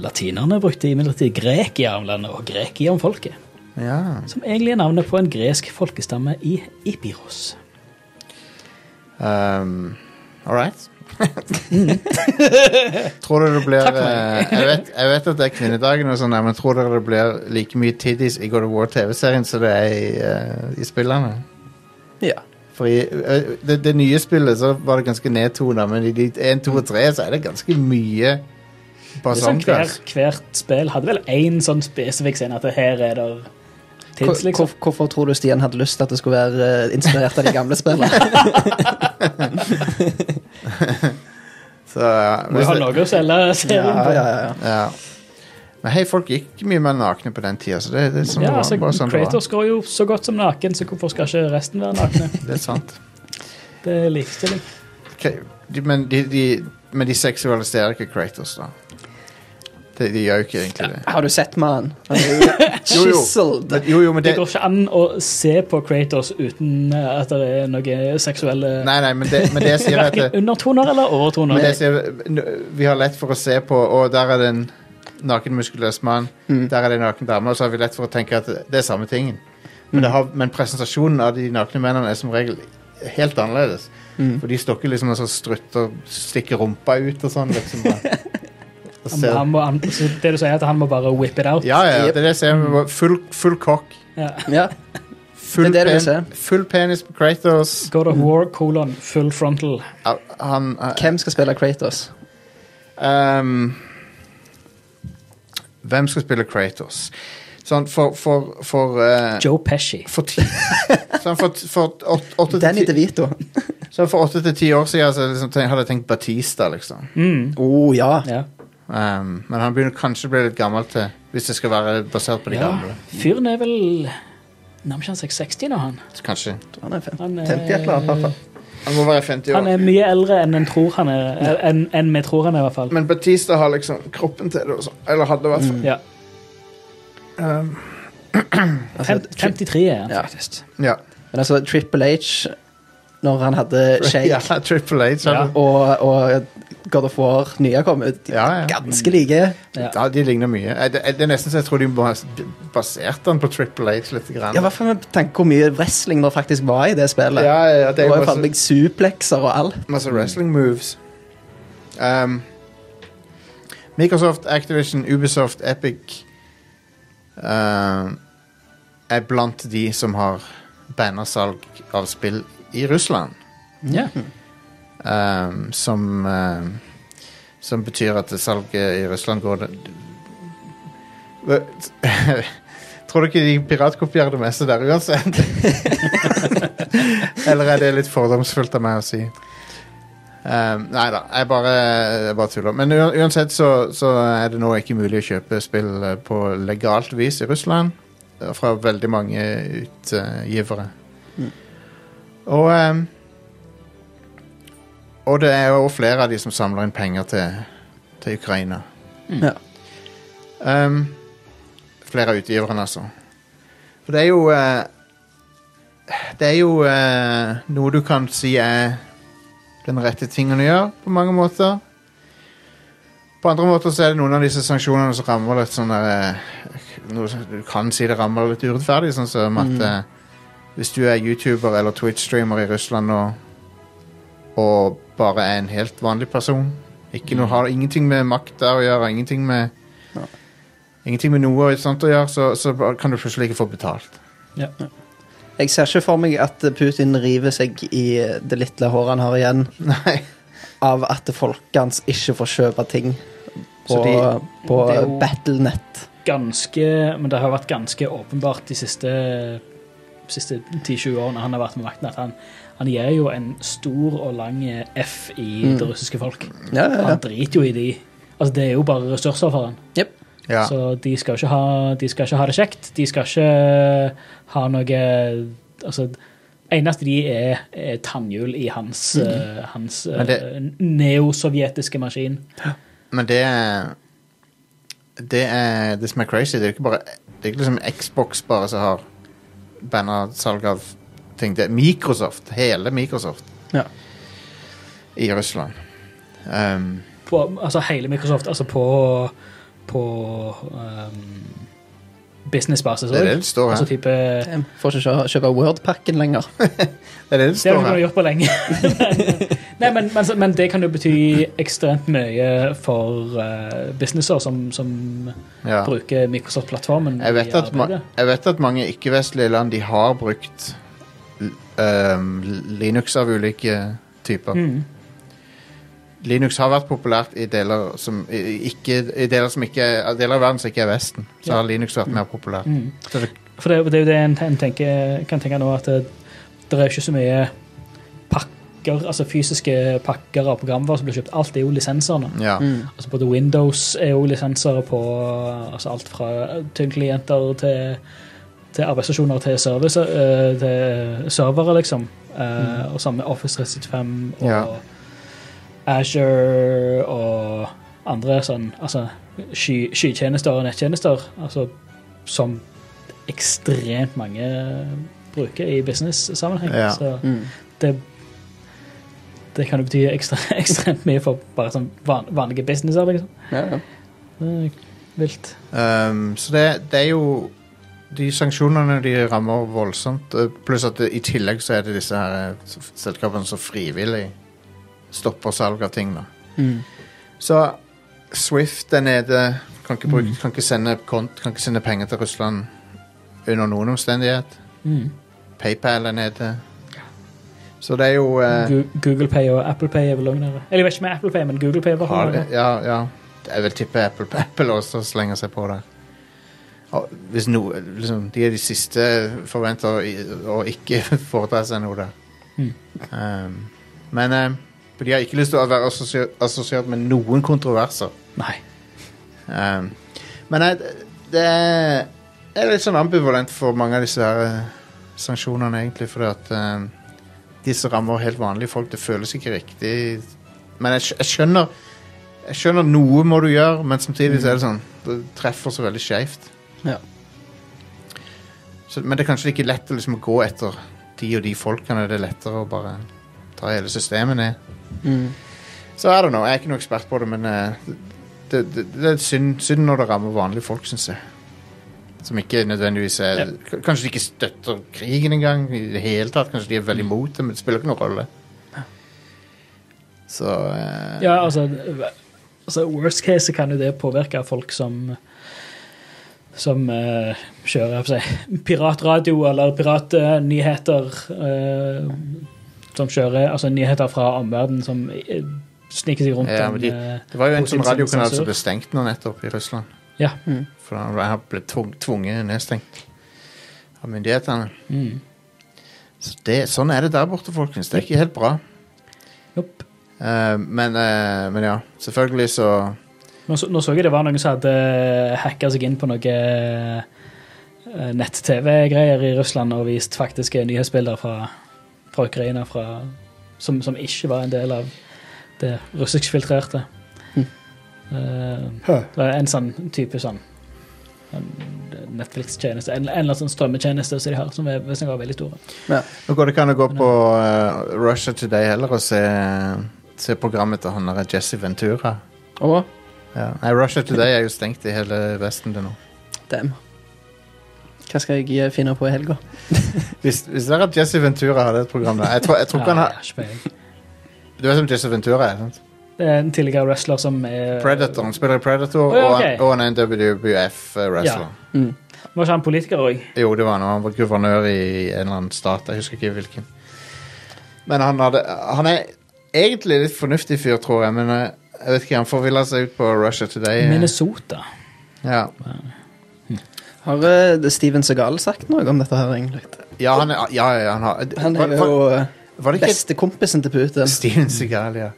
Latinerne brukte imidlertid Grekia om landet og Grekia om folket, Ja. som egentlig er navnet på en gresk folkestamme i Ibiros. Um, All right. <laughs> tror dere det blir Takk for eh, jeg, vet, jeg vet at det er kvinnedagen, og sånn, der, men tror dere det blir like mye tiddies i God of War-TV-serien som det er i, eh, i spillene? Ja. For i eh, det, det nye spillet så var det ganske nedtona, men i de 1, 2 og 3 så er det ganske mye Det er sånn hver, basangas. hvert spill hadde vel én sånn spesifikk scene at det her er der tids, Hvor- liksom. hvor- hvorfor tror du Stian hadde lyst til at det skulle være eh, inspirert av de gamle <laughs> spillene? Så, ja, Må hvis jo ha det- noe å selge serien på. ja. ja. Men hei, folk gikk mye mer nakne på den tida, så det, det er sånn Ja, det var. altså, bare sånn det var. Kratos går jo så godt som naken, så hvorfor skal ikke resten være nakne? Det er sant. Det er likestilling. K- de, men, de, de, men de seksualiserer ikke Kratos, da. De, de gjør jo ikke egentlig det. <laughs> Har du sett mannen? Han er <laughs> jo Jo, jo. chiseled. Men, jo, jo, men Det det går ikke an å se på Kratos uten eh, at det er noe seksuelle Nei, nei, men det, men det <laughs> sier jeg at Verken det, undertoner eller overtoner. men det sier, n- Vi har lett for å se på Å, der er det en naken muskuløs mann. Mm. Der er det en naken dame. Og så har vi lett for å tenke at det er samme tingen. Men, det har, men presentasjonen av de nakne mennene er som regel helt annerledes. Mm. For de står ikke liksom og så strutter stikker rumpa ut og sånn. liksom. <laughs> bare. Og Han, han ser, må, han, så det du sier, er at han må bare whip it out. ja, ja, det er det jeg ser. Bare Full, full kokk. Ja. Ja. Full, Det er det du pen, ser. full penis på Kratos. God of War, colon, full frontal. Au, Han eh, Hvem skal spille Kratos? ehm, Hvem skal spille Kratos? Sånn for For, for, eh, Joe Pesci. for, ti, <laughs> sånn for, for åt- åtte til Danny ti- DeVito. Å sånn for åtte til ti år siden så liksom, ten- hadde jeg tenkt Batista, liksom. Mm. Oh, ja. Ja. Um, men han begynner kanskje å bli litt gammel til Hvis det skal være basert på de ja. gamle. Fyren er vel Nærmer ikke han seg 60 nå, han? Kanskje. Han er fem- Han er- 50 et eller annet, i hvert fall. Han må være 50 år. Han er mye eldre enn en tror han er. eh, Enn enn vi tror han er, i hvert fall. Men Batista har liksom kroppen til det. og sånn. Eller hadde i hvert fall. Ja. Fem, Altså, tri- 53 er han, Ja. faktisk. Ja. men altså, Triple H, når han hadde Shake <laughs> ja, Triple H. Ja. Ja. og, og God of War nye har kommet, de Ja, er ja. ganske like. Ja. Ja, de ligner mye. Eh, Det, det er nesten så jeg tror de må ha s- basert den på Triple H litt. Grann. Ja, I hvert fall med tanke hvor mye wrestling der faktisk var i det spillet. ja, ja, det det er var jo faen masse, meg suplekser og alt. masse wrestling moves. Um, Microsoft, Activision, Ubisoft, Epic um, er blant de som har bannersalg av spill i Russland. Ja. Um, som, um, som betyr at det salget i Russland går det, Hva- <laughs> Tror du ikke de piratkopierer det meste der uansett? <laughs> Eller er det litt fordomsfullt av meg å si? Um, nei da, jeg bare, jeg bare tuller. Men u- uansett så, så er det nå ikke mulig å kjøpe spill eh, på legalt vis i Russland. eh, Fra veldig mange utgivere. Og um, og det er jo flere av de som samler inn penger til, til Ukraina. Ja. Um, flere av utgiverne, altså. For det er jo eh, Det er jo eh, noe du kan si er den rette tingen å gjøre, på mange måter. På andre måter så er det noen av disse sanksjonene som rammer litt sånn der eh, noe, som- Du kan si det rammer litt urettferdig, sånn som at eh, hvis du er YouTuber eller Twitch-streamer i Russland nå, og bare er en helt vanlig person. Ikke noe, har ingenting med makta å gjøre, ingenting med Ja. Ingenting med noe sånt å gjøre, så, så bare kan du plutselig ikke få betalt. <laughs> Ja. Jeg ser ikke for meg at Putin river seg i det lille håret han har igjen Nei. av at folk hans ikke får kjøpe ting på, Så de- på det er jo- Battlenet. Ganske Men det har vært ganske åpenbart de siste siste 10-20 årene han har vært med makten, at han, han gir jo en stor og lang F i Mm. det russiske folk. Ja, ja, ja. Han driter jo i de. Altså, det er jo bare ressurser for han. Jep. Ja. Så de skal, ikke ha, de skal ikke ha det kjekt. De skal ikke ha noe Altså, eneste de er, er tannhjul i hans, eh, hans Mm. Men det- eh, neosovjetiske maskin. Men det er Det er det som er crazy. Det er jo ikke bare Det er ikke liksom Xbox bare som har banna salg av ting. Det er Microsoft. Hele Microsoft Ja. i Russland. Um, På, altså hele Microsoft. Altså på På um, businessbasis det er det òg. det står Altså her. type Det Jeg Får ikke kjø- kjøpe Word-pakken lenger. Det er det det har står vi kunnet her. gjort på lenge. <laughs> Nei, men, men, men det kan jo bety ekstremt mye for eh, businesser som, som Ja. bruker Microsoft-plattformen. Jeg i vet, at ma arbeidet. jeg vet at mange ikke-vestlige land de har brukt l- øhm, Linux av ulike typer. Mm. Linux har vært populært i deler som i- i- ikke, i deler, som ikke, er- deler av verden som ikke er Vesten. Så Ja. har Linux vært mer populært. Mm. Så det, For det, det er jo det en, en tenker, kan tenke nå, at det, det er ikke så mye pakker, altså fysiske pakker av programvarer som blir kjøpt. Alt er jo lisenser nå. ja. Mm. Altså både Windows er jo lisenser på altså alt fra tynnklienter til, til arbeidsstasjoner til, service, eh, til servere, liksom. Eh, Og samme Office 365 og Mm. Ja. Azure og andre sånn altså sky, skytjenester og nettjenester altså, som ekstremt mange bruker i business-sammenheng. Ja. Så Mm. det, det kan jo bety ekstra, <laughs> ekstremt mye for bare sånn van, vanlige businesser, liksom. Ja, ja. Det er vilt. Ehm, Øhm, så det, det er jo de sanksjonene de rammer voldsomt. eh, Pluss at det, i tillegg så er det disse her eh, s- selskapene som frivillig stopper salg av ting. da. Mm. Så Swift er nede. Kan ikke, bruke, kan, ikke sende kont, kan ikke sende penger til Russland under noen omstendighet. PayPal er nede. Så det er jo eh, Gu- Google Pay og Apple Pay er vel også nede. Eller jeg vet ikke med Apple Pay, men Google Pay var Har nede. det? Ja, ja. Jeg vil tippe Apple, <laughs> Apple også slenger seg på der. Og hvis no, liksom, de er de siste forventa å, å ikke <laughs> foreta seg noe der. Um, men um, for de har ikke lyst til å være assosier- assosiert med noen kontroverser. Nei. Um, men jeg, det er- jeg er litt sånn ambivalent for mange av disse her eh, sanksjonene, egentlig. Fordi at um, de som rammer helt vanlige folk, det føles ikke riktig. Men jeg, skj- jeg skjønner Jeg skjønner noe må du gjøre, men samtidig så er det sånn Det treffer så veldig skeivt. Ja. Så- Men det er kanskje ikke lett å liksom gå etter de og de folkene. Det er lettere å bare ta hele systemet ned. Mm. Så I don't know. Jeg er ikke noe ekspert på det, men eh, det, det, det er synd, synd når det rammer vanlige folk, syns jeg. Som ikke nødvendigvis er k- Kanskje de ikke støtter krigen engang i det hele tatt. Kanskje de er Mm. veldig imot det, men det spiller ikke noen rolle. Så eh, Ja, altså, v- altså Worst case så kan jo det påvirke folk som som eh, kjører jeg får si, piratradio eller piratnyheter eh, som kjører altså nyheter fra omverdenen som eh, sniker seg rundt Ja, den, men de- eh, Det var jo en sånn Putin sin radiokanal sensor. som ble stengt nå nettopp i Russland. Ja. Mm. For han han ble tvung, tvunget nedstengt av myndighetene. Mm. Så det, sånn er det der borte, folkens. Det er ikke helt bra. Jopp. Eh, men, eh, men ja, selvfølgelig så Nå, så, nå så jeg det var noen som hadde hacka seg inn på noe eh, nett-TV-greier i Russland og vist faktiske nyhetsbilder fra, fra Ukraina fra, som, som ikke var en del av det russiskfiltrerte. Hm. Eh, det var en sånn type sånn en Netflix-tjeneste, en, en eller annen sånn strømmetjeneste som de har, som er- visstnok var veldig store. Ja. Nå går det ikke an å gå på eh, Russia Today heller og se, se programmet til han der Jesse Ventura. Og Ja. Nei, Russia Today er jo stengt i hele Vesten til nå. dem. Hva skal jeg eh, finne på i helga? Hvis, hvis det er at Jesse Ventura hadde et program der Jeg tror, jeg tror ikke han Ja, har jeg har ikke peiling. Du vet hvem Jesse Ventura er? sant? det er en tidligere wrestler som er Predator. Han spiller i Predator, Å, ja, og, ok. han, og han er en WWF-wrestler. Var ikke han politiker òg? eh, Jo, det var han. og Han var guvernør i en eller annen stat. Jeg husker ikke hvilken. Men han hadde Han er egentlig litt fornuftig fyr, tror jeg, men eh, jeg vet ikke, han forvilla seg ut på Russia Today. eh. Minnesota. Ja. Har eh, Steven Segal sagt noe om dette her, egentlig? Ja, han er, ja, ja, han har Han var, er var, jo eh, var det ikke bestekompisen til Putin. <laughs> Steven Segal, ja.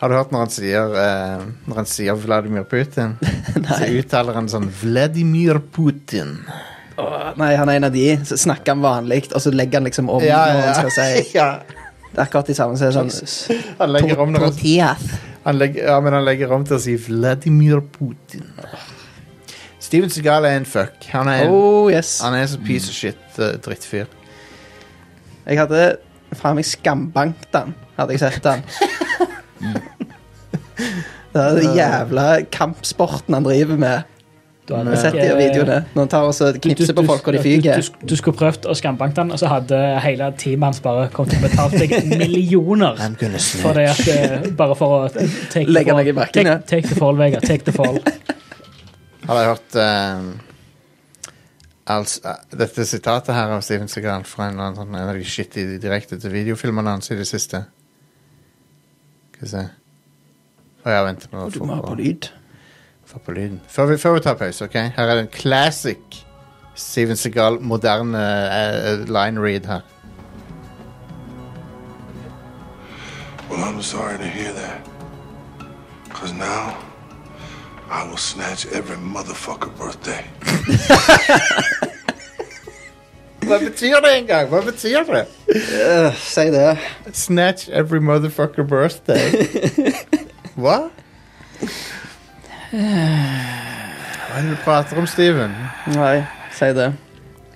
Har du hørt når han sier eh, Når han sier Vladimir <laughs> Putin? så uttaler han sånn Vladimir Putin. Åh, Nei, han er en av de. Så snakker han vanlig, og så legger han liksom om når han skal si <laughs> ja. Det er akkurat de samme som er sånn Han legger om når han Proteas. Han legger, ja, men han legger om til å si Vladimir Putin. Steven Segal er en fuck. Han er en, Oh, yes. han er en sånn piece of shit eh, drittfyr. Jeg hadde faen meg skambankt han, hadde jeg sett <laughs> han. Det er den jævla kampsporten han driver med. Du hadde Jeg har sett de videoene når han tar og så knipser på folk og de fyker. Du, du, du skulle prøvd å skambanke den, og så hadde hele teamet hans bare kommet og betalt <laughs> deg millioner. For det at, eh, bare for å t- take the Legge fall. meg i bakken, ja. Take, take the fall, Vegard. Take the <laughs> fall. Har dere hørt eh, altså, eh, dette sitatet her av Steven Segal fra en, eller annen sånn- en av de shitty direkte til videofilmene hans i det siste? Skal vi se Å ja, vent. Nå Du får må ha på- på lyd. Få på lyden. Før vi, før vi tar pause, ok? Her er den classic Steven Segal moderne eh, eh, line read her. Well, I'm sorry to hear that. Because now, I will snatch every motherfucker birthday. Hva betyr det engang? Hva betyr det? Øh, Si det. Snatch every motherfucker birthday. Hva? Hva er det du prater om, Steven? Nei, si det.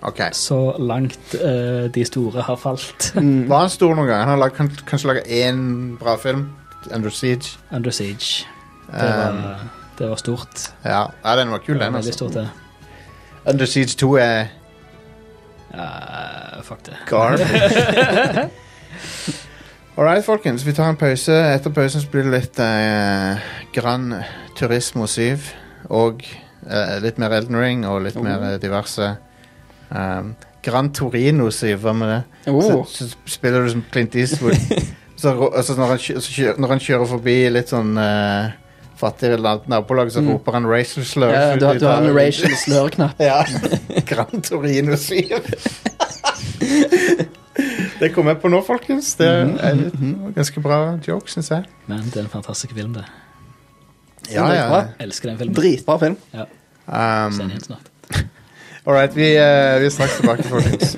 Ok, Så langt eh, de store har falt. Mm. Var han stor noen gang? Han har lag, kan, kanskje laga én bra film. Under Siege. Um, Under Um, siege. Det var, det var stort. Ja, ja den var kul, Det den. var Altså. veldig stort, det. Under Siege 2 er Eh, fuck det. garbage. All right, folkens. Vi tar en pause. Etter pausen så blir det litt eh, Gran Turismo 7. Og eh, litt mer Elden Ring og Oh. litt mer eh, diverse. Um, Gran Torino 7, hva med det? <laughs> Oh. Så, så spiller du som Clint <laughs> Eastwood. så, ro- altså, når, han, kjø- så kjø- når han kjører forbi litt sånn eh, fattige land- nabolag, så Mm. roper han racial slurs. Ja, ut du, har- i du har en talen. racial slør-knapp. Ja. Gran Torino 7. det kom jeg på nå, folkens. Det er en ganske bra joke, syns jeg. Men det er en fantastisk film, det. Ja, ja. Elsker den filmen. Dritbra film. Ja, se den Um, igjen snart. all right, vi, eh, vi snakkes tilbake, folkens.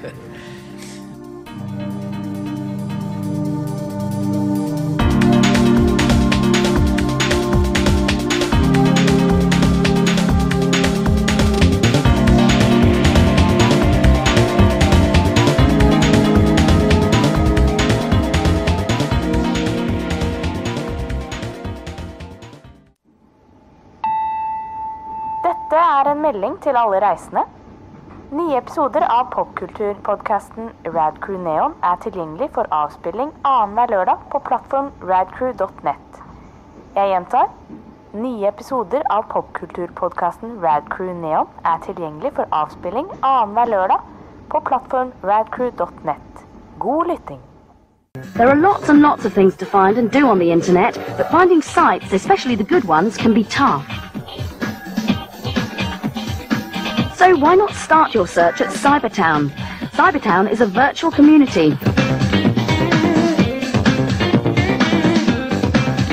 Dette er en melding til alle reisende. Nye episoder av popkulturpodkasten Radcrew Neon er tilgjengelig for avspilling annenhver lørdag på plattform radcrew.net. Jeg gjentar. Nye episoder av popkulturpodkasten Radcrew Neon er tilgjengelig for avspilling annenhver lørdag på plattform radcrew.net. God lytting! There are lots and lots of things to find and do on the internet, but finding sites, especially the good ones, can be tough. So why not start your search at Cybertown? Cybertown is a virtual community.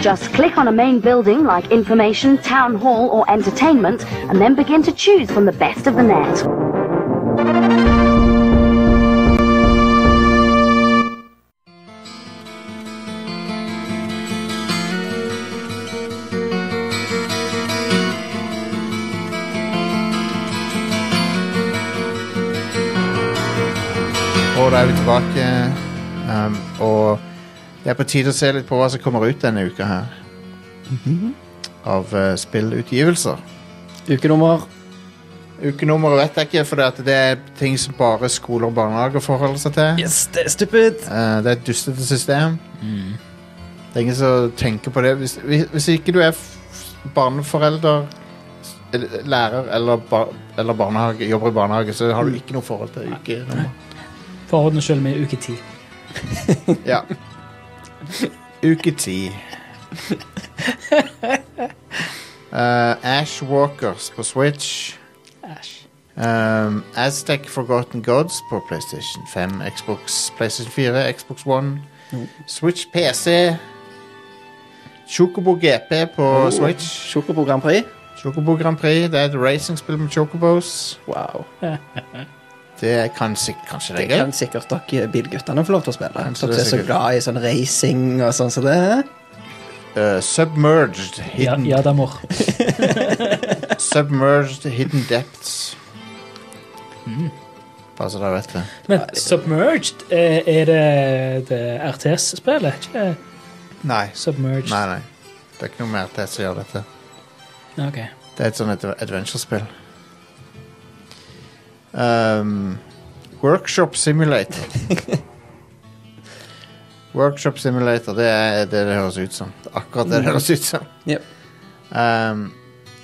Just click on a main building like information, town hall, or entertainment, and then begin to choose from the best of the net. Og da er vi tilbake. Um, og det er på tide å se litt på hva som kommer ut denne uka her. Av eh, spillutgivelser. Ukenummer Ukenummeret vet jeg ikke, for det er ting som bare skoler og barnehager forholder seg til. Yes, det er stupid! Eh, det er et dustete system. Det er ingen som tenker på det. Hvis, hvis, hvis ikke du er f- barneforelder, s- eller lærer eller, bar, eller barnehage, jobber i barnehage, så har du ikke noe forhold til ukenummer. For ordens skyld med uke ti. Ja. Uke <laughs> ti. Eh, Ash Walkers på Switch. Æsj. Um, Aztec Forgotten Gods på PlayStation 5, Xbox, PlayStation 4, Xbox One, Mm. Switch PC, Chocobo GP på Oh. Switch, Sjokobo Grand Prix. Chocobo Grand Prix, det er et racingspill med Chocobos. Wow. Det er kanskje, kanskje det Det er gøy. kan sikkert dere bilguttene få lov til å spille. Kanskje Dere det er er så sikkert. glad i sånn racing og sånn som det. er. Uh, submerged, Ja, hidden, ja da, mor. submerged Hidden Depths. Mm. Bare så dere vet det. Men Submerged, eh, er det, det RTS-spillet? Ikke Nei. Submerged? Nei, nei. Det er ikke noe mer til som gjør dette. Ok. Det er et sånn adve- adventure-spill. Um, Workshop Simulator. <laughs> Workshop Simulator, det er det det høres ut som. Det er Akkurat det det høres ut som. Yep. Um,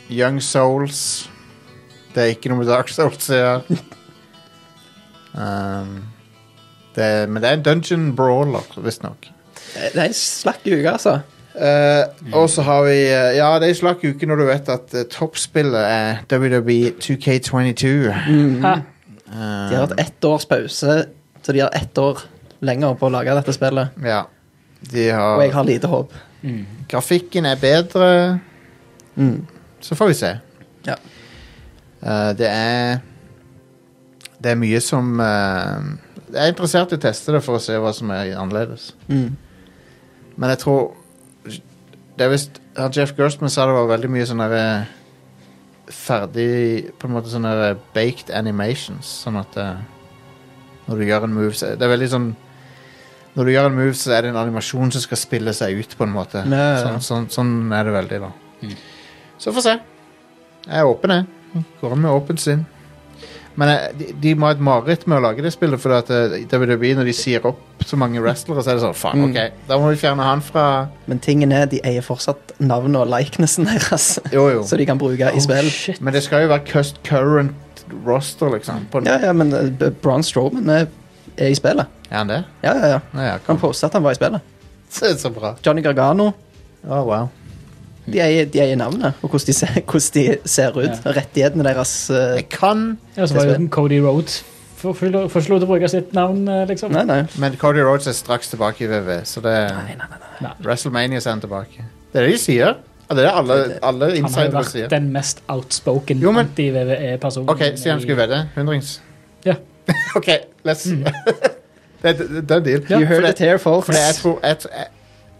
Young Souls. Det er ikke noe med Dark Souls å gjøre. Um, det er, men det er en dungeon brawler, visstnok. Det er en slakk uke, altså. Eh, Mm. Og så har vi eh, Ja, det er en slakk uke når du vet at eh, toppspillet er E WWE 2K22. Mm. Um, De har hatt ett års pause, så de har ett år lenger på å lage dette spillet. Ja. De Og jeg har har lite håp. Grafikken er bedre. Mm. Så får vi se. Ja. Eh, det er Det er mye som eh, Jeg er interessert i å teste det for å se hva som er annerledes. Mm. Men jeg tror Det er visst han Jeff Gerstmann sa det var veldig mye sånn derre Ferdig På en måte sånn derre baked animations. Sånn at eh, når du gjør en move så, Det er veldig sånn Når du gjør en move, så er det en animasjon som skal spille seg ut, på en måte. Ja, ja, Mm. ja. Sånn, sånn, sånn er det veldig, da. Så får vi se. Jeg er åpen, jeg. Går an med åpent sinn. Men eh, de, de må ha et mareritt med å lage det spillet, for at eh, WWE, når de sier opp så mange wrestlere, så er det sånn Faen, OK, da må vi fjerne han fra Men tingen er, de eier fortsatt navnet og likenessen deres, <laughs> Jo, jo. så de kan bruke Oh, i spill. Shit. Men det skal jo være cust current roster, liksom. På en, Ja, ja, men eh, B- Braun Strowman er, er i spillet. Er han det? Ja, ja, ja. Ja, ja, <laughs> Han kom. postet at han var i spillet. Så, så bra. Johnny Gargano. Å, wow. Hmm. De eier, de eier navnet og hvordan de ser, hvordan de ser ut. Rettighetene deres eh, Jeg kan Ja, så var jo den Cody Rhodes forslo til å bruke sitt navn, eh, liksom. Nei, nei. Men Cody Rhodes er straks tilbake i WW, så det Nei, nei, nei, nei. WrestleMania sender tilbake. Det er det de sier. Ja, Det er det alle, alle Han har jo insidere vært sier. den mest outspoken Jo, men- anti-VVE-personen. OK, si han skulle vedde. Hundrings. Ja. <laughs> OK, let's <laughs> det, det, det er deal. You heard Mm. For det- it here, folks. for det, jeg, tror, jeg, jeg,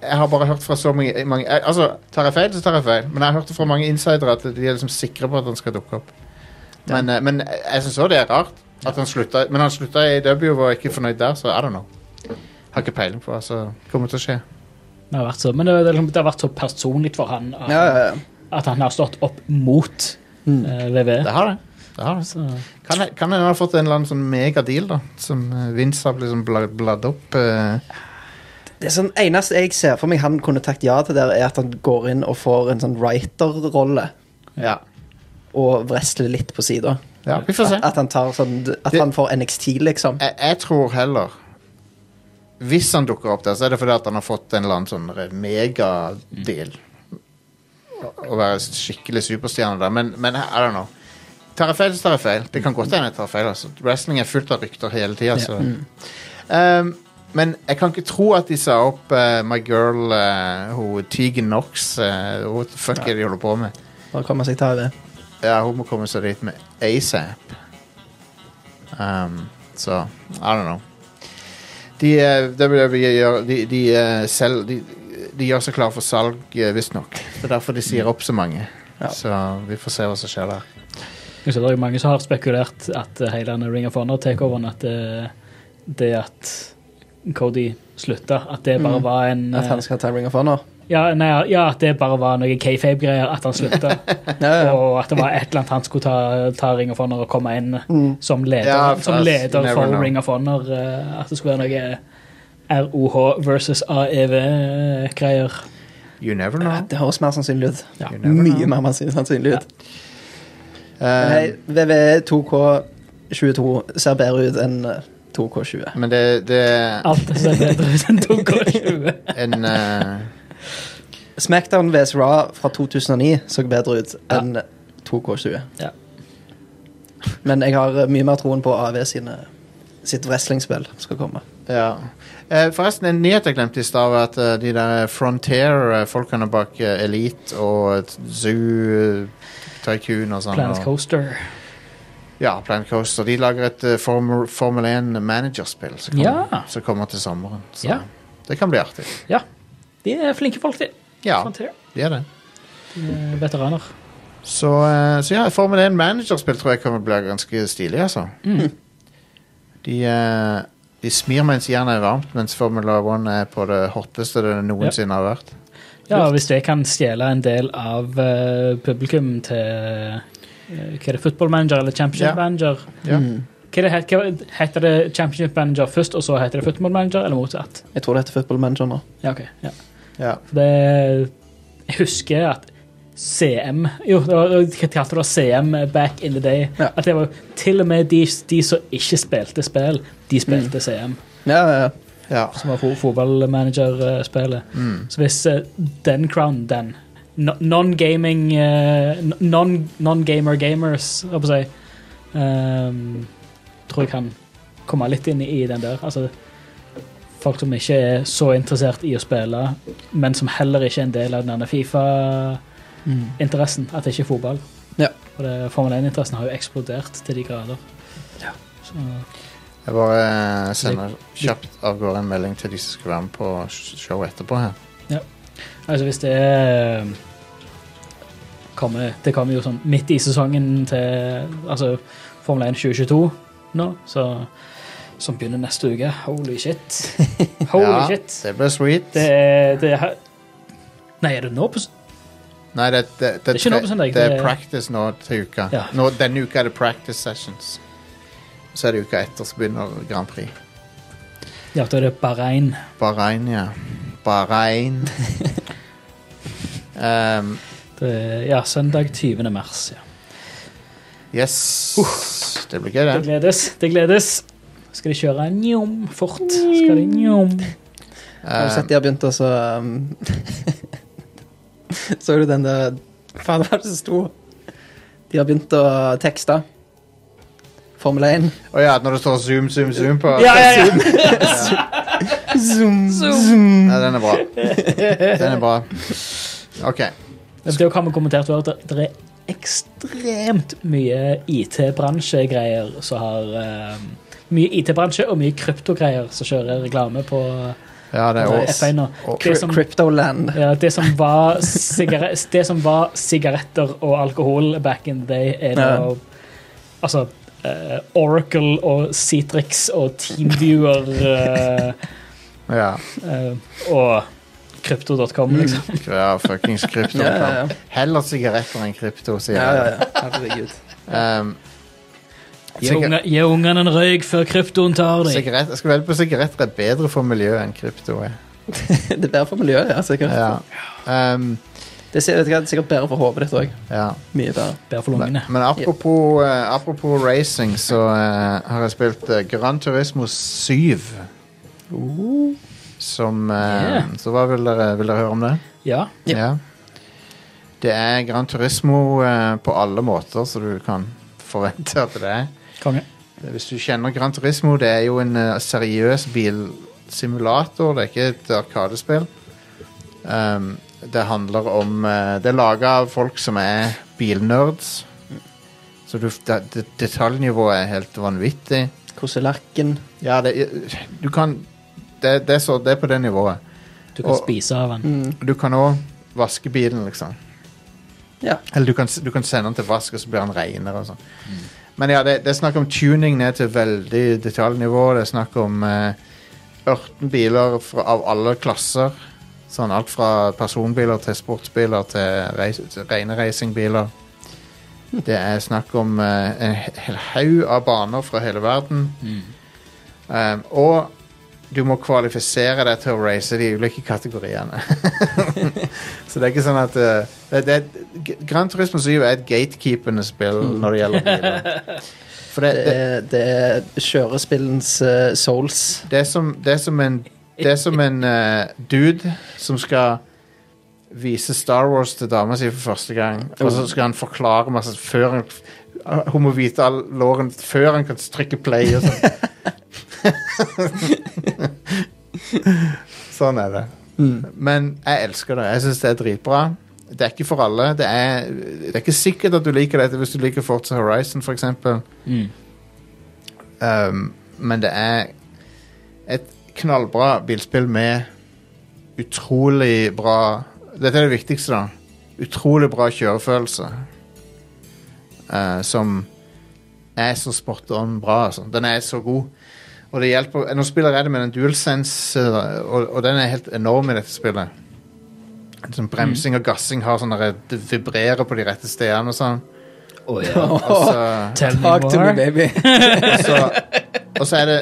jeg har bare hørt fra så mange, mange jeg, Altså, tar jeg feil, så tar jeg feil. Men jeg har hørt fra mange insidere at de er liksom sikre på at han skal dukke opp. Men, eh, men jeg- jeg syns òg det er rart. At han slutta, men han slutta i W og var ikke fornøyd der, så I don't know. Har ikke peiling på hva som kommer til å skje. Det har vært så, men det, det, det har vært så personlig for han at, Ja, ja, ja. at han har stått opp mot eh, VVE. Hmm. Det har det. det, har det. Så, Kan jeg- Kan hende han har fått en eller annen sånn megadeal, da. Som eh, Vince har liksom bla- bladd opp. eh. Det sånn, eneste jeg ser for meg han kunne takket ja til der, er at han går inn og får en sånn writer-rolle ja. og vresler litt på sida. ja. Vi får se. At han tar sånn At Det- han får NXT, liksom. jeg, jeg tror heller Hvis han dukker opp der, så er det fordi at han har fått en eller annen sånn megadeal. Å- Å være skikkelig superstjerne der. Men, men I don't know. Tar jeg feil, så tar jeg feil. Det kan godt hende jeg tar feil. Altså. Wrestling er fullt av rykter hele tida, så um, Men jeg kan ikke tro at de sa opp eh, my girl uh, hun Tegan Knox. eh, what the fuck er det de holder på med? Bare komme seg til det. Ja, hun må komme seg dit med ASAP. Um, så I don't know. De, eh, WWE gjør, de, de, eh, selv, de, de gjør seg klar for salg, eh, visstnok. Det er derfor de sier opp så mange. Ja. Så vi får se hva som skjer der. så det er jo mange som har spekulert at eh, hele denne Ring of Honor-takeoveren At det, det at Cody slutta, at det Hmm. bare var en At han eh, skal ta Ring of Honor. ja, nei, ja, at det bare var noe kayfabe-greier, at han slutta. Ja, ja. Og at det var et eller annet han skulle ta, ta Ring of Honor og komme inn som leder, Ja, for som us, you leder never for know. Ring of Honor. eh, at det skulle være noe ROH versus E AEV-greier. You never know. Det høres mer sannsynlig ut. Ja. You never Mye know. mer sannsynlig ut. Men Um, Hei, VVE 2K22 ser bedre ut enn eh, 2K20. men det, det er Alt ser bedre ut enn 2K20. en eh, Smackdown vs. Raw fra 2009 så bedre ut enn 2K20. Ja. Men jeg har eh, mye mer troen på AV sine, sitt wrestlingspill som skal komme. Ja. Eh, forresten, en nyhet jeg glemte i stad, var at eh, de der Frontier-folkene bak eh, Elite og Zoo, eh, Tycoon og sånn Planet og- Coaster. Ja, Planet Coaster. De lager et eh, Form- Formel 1 managerspill som kommer, Ja. som kommer til sommeren. Så Ja. det kan bli artig. Ja. De er flinke folk, de. Ja, Frontier. det er det. De er veteraner. Så, eh, så ja, Formel 1 managerspill tror jeg kommer til å bli ganske stilig, altså. Mm. De, eh, de smir mens jernet er varmt, mens Formula 1 er på det hotteste det noensinne har vært. Ja, og hvis det kan stjele en del av eh, publikum til eh, Hva er det, football manager eller championship Ja. manager? Ja. Hva er det, het- hva heter det championship manager først, og så heter det football manager, eller motsatt? Jeg tror det heter Football Manager nå. Ja, ok. Ja. Ja. For det, jeg husker at CM Jo, det var, hva kalte du det? CM back in the day. Ja. At det var til og med de, de som ikke spilte spill, de spilte CM. Ja, ja, ja. ja. som var fo- fotballmanager-spillet. Så hvis eh, den crown, den no- Non-gaming eh, non- Non-gamer gamers, holdt på å si, ehm, tror jeg kan komme litt inn i den der. Altså folk som ikke er så interessert i å spille, men som heller ikke er en del av den der Fifa-interessen. At det ikke er fotball. Ja. For det, Formel 1-interessen har jo eksplodert til de grader. Ja. Så, Jeg bare eh, sender kjapt av gårde en melding til de som skal være med på show etterpå her. Altså hvis det er kommer, Det kommer jo sånn midt i sesongen til altså Formel 1 2022 nå, så, som begynner neste uke. Holy shit. Holy ja, shit. Det blir sweet. Det er, det er Nei, er det nå på s- Nei, det, det, det, ikke nå på søndag, det er det- practice nå til uka. Ja. Nå, denne uka er det practice sessions. så er det uka etter så begynner Grand Prix. Ja, da er det Bahrain. Bahrain, ja. Bahrain. um, Det er, ja, søndag 20. mars. Ja. yes. Det blir gøy, Det det. gledes. Det gledes. Skal de kjøre njom fort? Skal de njom? Har du Um, sett de har begynt å så um, <laughs> Så du den der Faen, hva er det som sto? De har begynt å tekste. Formel 1. Å ja, når det står zoom, zoom, zoom på Ja, ja, ja. <laughs> Zoom, zoom. Nei, den er bra. Den er bra. OK. Det har kommet kommentert før at det- det er ekstremt mye IT-bransjegreier som har eh, Mye IT-bransje og mye kryptogreier som kjører reklame på Ja, det er på oss. F1 nå. Og- Det som- Cryptoland. Ja, det som var, sigaret, det som var sigaretter og alkohol back in the day, er nå Altså eh, Oracle og Citrix og Teamviewer eh, Ja. eh, og krypto.com, Mm. liksom. ja Fuckings krypto. Ja, ja, ja. Heller sigaretter enn krypto, sier Ja, ja, jeg. ja. Herregud. Um, Gi unge- gi ungene en røyk før kryptoen tar dem. Sigarett, jeg skal velge på sigaretter er bedre for miljøet enn krypto. er. <laughs> Det er bedre for miljøet, ja, sikkert. Ja. Um, Det, er, det er sikkert bedre for hodet ditt òg. ja. Mye bedre. Bare for lungene. Men apropos, eh, apropos racing, så eh, har jeg spilt eh, Gran Turismo 7. Som eh, Yeah. Så hva vil dere, vil dere høre om det? Ja. Ja. Det er Gran Turismo eh, på alle måter, så du kan forvente at det er. Konge. Hvis du kjenner Gran Turismo, det er jo en eh, seriøs bilsimulator. Det er ikke et arkadespill. Um, det handler om eh, Det er laga av folk som er bilnerds. Så du, det, det, detaljnivået er helt vanvittig. Koselakken. Ja, det Du kan Det, det, er, så, det er på det nivået. Du kan Og- Mm. spise av den. Du kan òg vaske bilen, liksom. Ja. Eller du kan, du kan sende den til vask, og så blir den renere og sånn. Men ja, det, det er snakk om tuning ned til veldig detaljnivå. Det er snakk om eh, 18 biler fra, av alle klasser. Sånn alt fra personbiler til sportsbiler til, reis, til rene racingbiler. Det er snakk om eh, en hel haug av baner fra hele verden. Um, og du må kvalifisere deg til å race de ulike kategoriene. <laughs> Så det er ikke sånn at eh, det, det, er- G- Gran Turismo 7 er et gatekeepende spill når det gjelder biler. For det, Det det, er, det er kjørespillens eh, souls. det, er som, det er som en, det er som en eh, dude som skal vise Star Wars til dama si for første gang, og så skal han forklare masse før han, Hun må vite all låren før han kan trykke play og sånn. <laughs> sånn er det. Men jeg elsker det. Jeg syns det er dritbra. Det er ikke for alle. Det er, det er ikke sikkert at du liker dette hvis du liker Forza Horizon, f.eks. Mm. Um, men det er et knallbra bilspill med utrolig bra Dette er det viktigste, da. Utrolig bra kjørefølelse. Eh, som er så spot on bra, altså. Den er så god. Og det hjelper Nå spiller jeg det med den DualSense, eh, og, og den er helt enorm i dette spillet. Sånn bremsing og gassing har sånn derre- Det vibrerer på de rette stedene og sånn. Å, ja. Og altså. så Tell me <laughs> Talk to me, more. baby. så, og så er det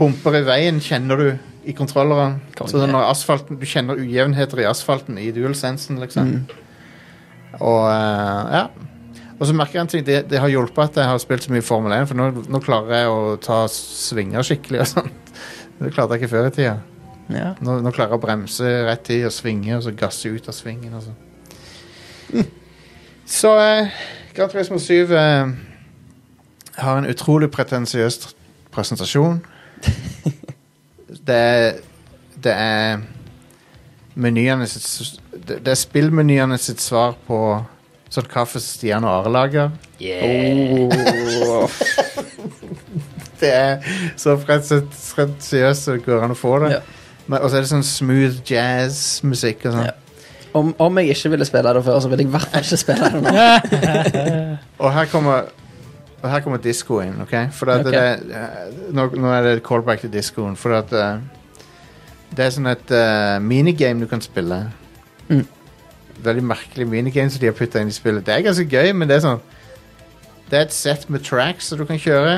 bumper i veien, kjenner du i kontrolleren. Så når asfalten, du kjenner ujevnheter i asfalten i dualsensen, liksom. Og eh, ja. Og så merker jeg en ting, det, det har hjulpet at jeg har spilt så mye Formel 1, for nå, nå klarer jeg å ta svinger skikkelig og sånt. Det klarte jeg ikke før i tida. Ja. Nå, nå klarer jeg å bremse rett i og svinge, og så gasse ut av svingen. Og så. så eh, Gran Turismo 7 eh, har en utrolig pretensiøs tr- presentasjon. det er Det er menyene sitt s- Det det er spillmenyene sitt svar på sånn kaffe Stian og Are lager. <laughs> det er så pretensiøst som det går an å få det. Ja. Men- Og så er det sånn smooth jazz-musikk og sånn. Ja. Om, om jeg ikke ville spille det før, så ville jeg i hvert fall ikke spille det nå. <laughs> Og her kommer og her kommer disco inn, ok? For at Ok. det, eh, nå, nå er det et callback til discoen. For at eh, det er sånn et eh, minigame du kan spille. Mm. Veldig merkelig minigame som de har putta inn i spillet. Det er ganske gøy, men det er sånn Det er et sett med tracks som du kan kjøre.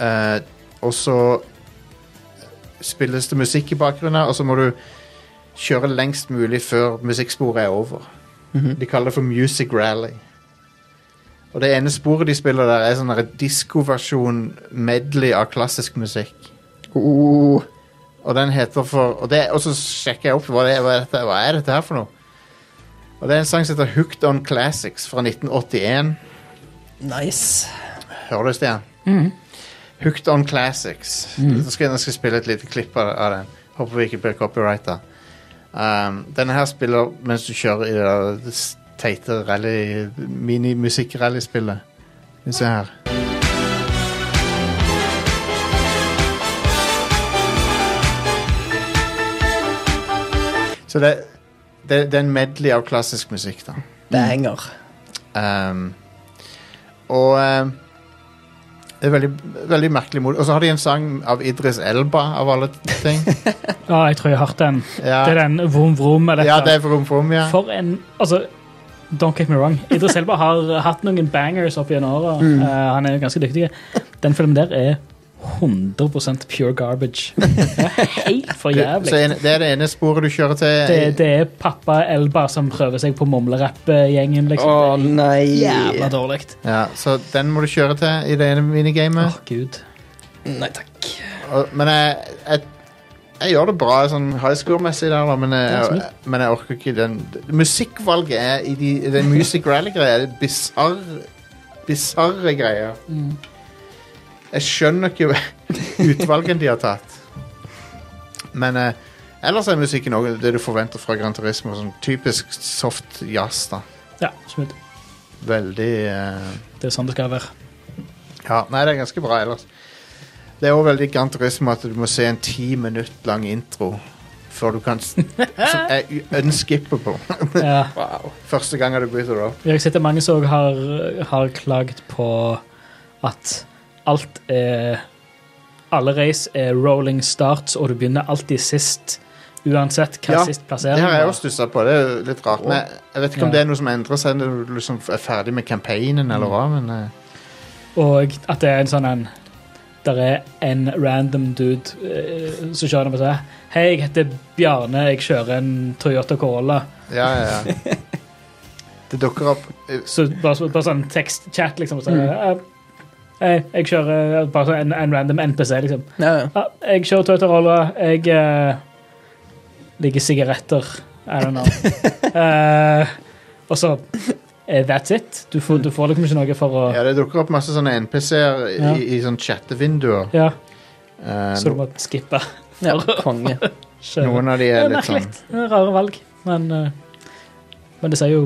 Eh, og så spilles det musikk i bakgrunnen, og så må du kjøre lengst mulig før musikksporet er over. Mhm. De kaller det for Music Rally. Og det ene sporet de spiller der, er sånn en diskoversjon medley av klassisk musikk. Oh, Og den heter for Og, det, og så sjekker jeg opp hva, det, hva, er dette, hva er dette her for noe. Og det er en sang som heter Hooked On Classics fra 1981. nice. Hører du, Stian? Hooked On Classics. Så skal jeg, jeg skal spille et lite klipp av, av den. Håper vi ikke blir copyrighta. Um, denne her spiller mens du kjører i det der s- teite rally minimusikkrallyspillet. Skal vi se her. Så det, det, det er en medley av klassisk musikk, da. Banger. Um, og um, det er veldig, veldig merkelig mot. Og så har de en sang av Idris Elba, av alle <laughs> ting. Ja, jeg tror jeg har hørt den. Ja, Det er den vrom vrom eller et ja eller det er Vroom Vroom, ja. For en Altså, don't get me wrong. Idris Elba har hatt noen bangers opp gjennom åra. Mm. Eh, han er ganske dyktig. Den filmen der er 100 pure garbage. Det er Helt for Det, jævlig. så en, det er det ene sporet du kjører til. Det, det er pappa Elba som prøver seg på mumlerapp-gjengen, Å liksom. nei. Jævla dårlig. Ja, så den må du kjøre til i det ene Åh, minigamet. gud. Nei takk. Og- Men jeg, jeg, jeg gjør det bra sånn high score-messig der, da, men jeg, smitt. men jeg orker ikke den Musikkvalget er i de, i den music rally-greia. Det er bisarre Bisarre greier. Jeg skjønner ikke utvalgene de har tatt. Men eh, ellers er musikken også det du forventer fra Gran Turismo. Sånn typisk soft jazz, da. Ja, smooth. Veldig eh, Det er sånn det skal <laughs> være. ja, nei, det er ganske bra ellers. Det er også veldig Gran Turismo at du må se en ti minutt lang intro før du kan <laughs> s- Som er u- unskippable. Ja. <laughs> Første gang du bryter det opp. Jeg har sett at mange som har, har klagd på at alt er Alle race er rolling starts, og du begynner alltid sist. Uansett hva Ja, sist Det plassering har jeg var. også stussa på. Det er jo litt rart. Men jeg vet ikke om Ja. det er noe som endrer seg når du liksom er ferdig med campaignen eller hva, men eh, Og at det er en sånn en Der er en random dude eh, som kjører på seg. Hei, jeg heter Bjarne. Jeg kjører en Toyota Corolla. ja, ja, <laughs> ja. Det dukker opp eh, Så bare, så- bare sånn tekstchat, liksom. og Så, Mm. eh, Hei, jeg kjører eh, bare sånn en, en random NPC, liksom. Ja, ja. Ja, jeg kjører Toyota Rolla. Jeg eh, liker sigaretter. I don't know. <laughs> Eh, og så eh, That's it. Du får, du får liksom ikke noe for å Ja, det dukker opp masse sånne NPC-er i, Ja. i sånne chattevinduer. Ja, Eh, så du må skippe. ja. Konge. Kjøre. noen av de Det er er litt merkelig. sånn Det er Rare valg. Men, eh, men det ser jo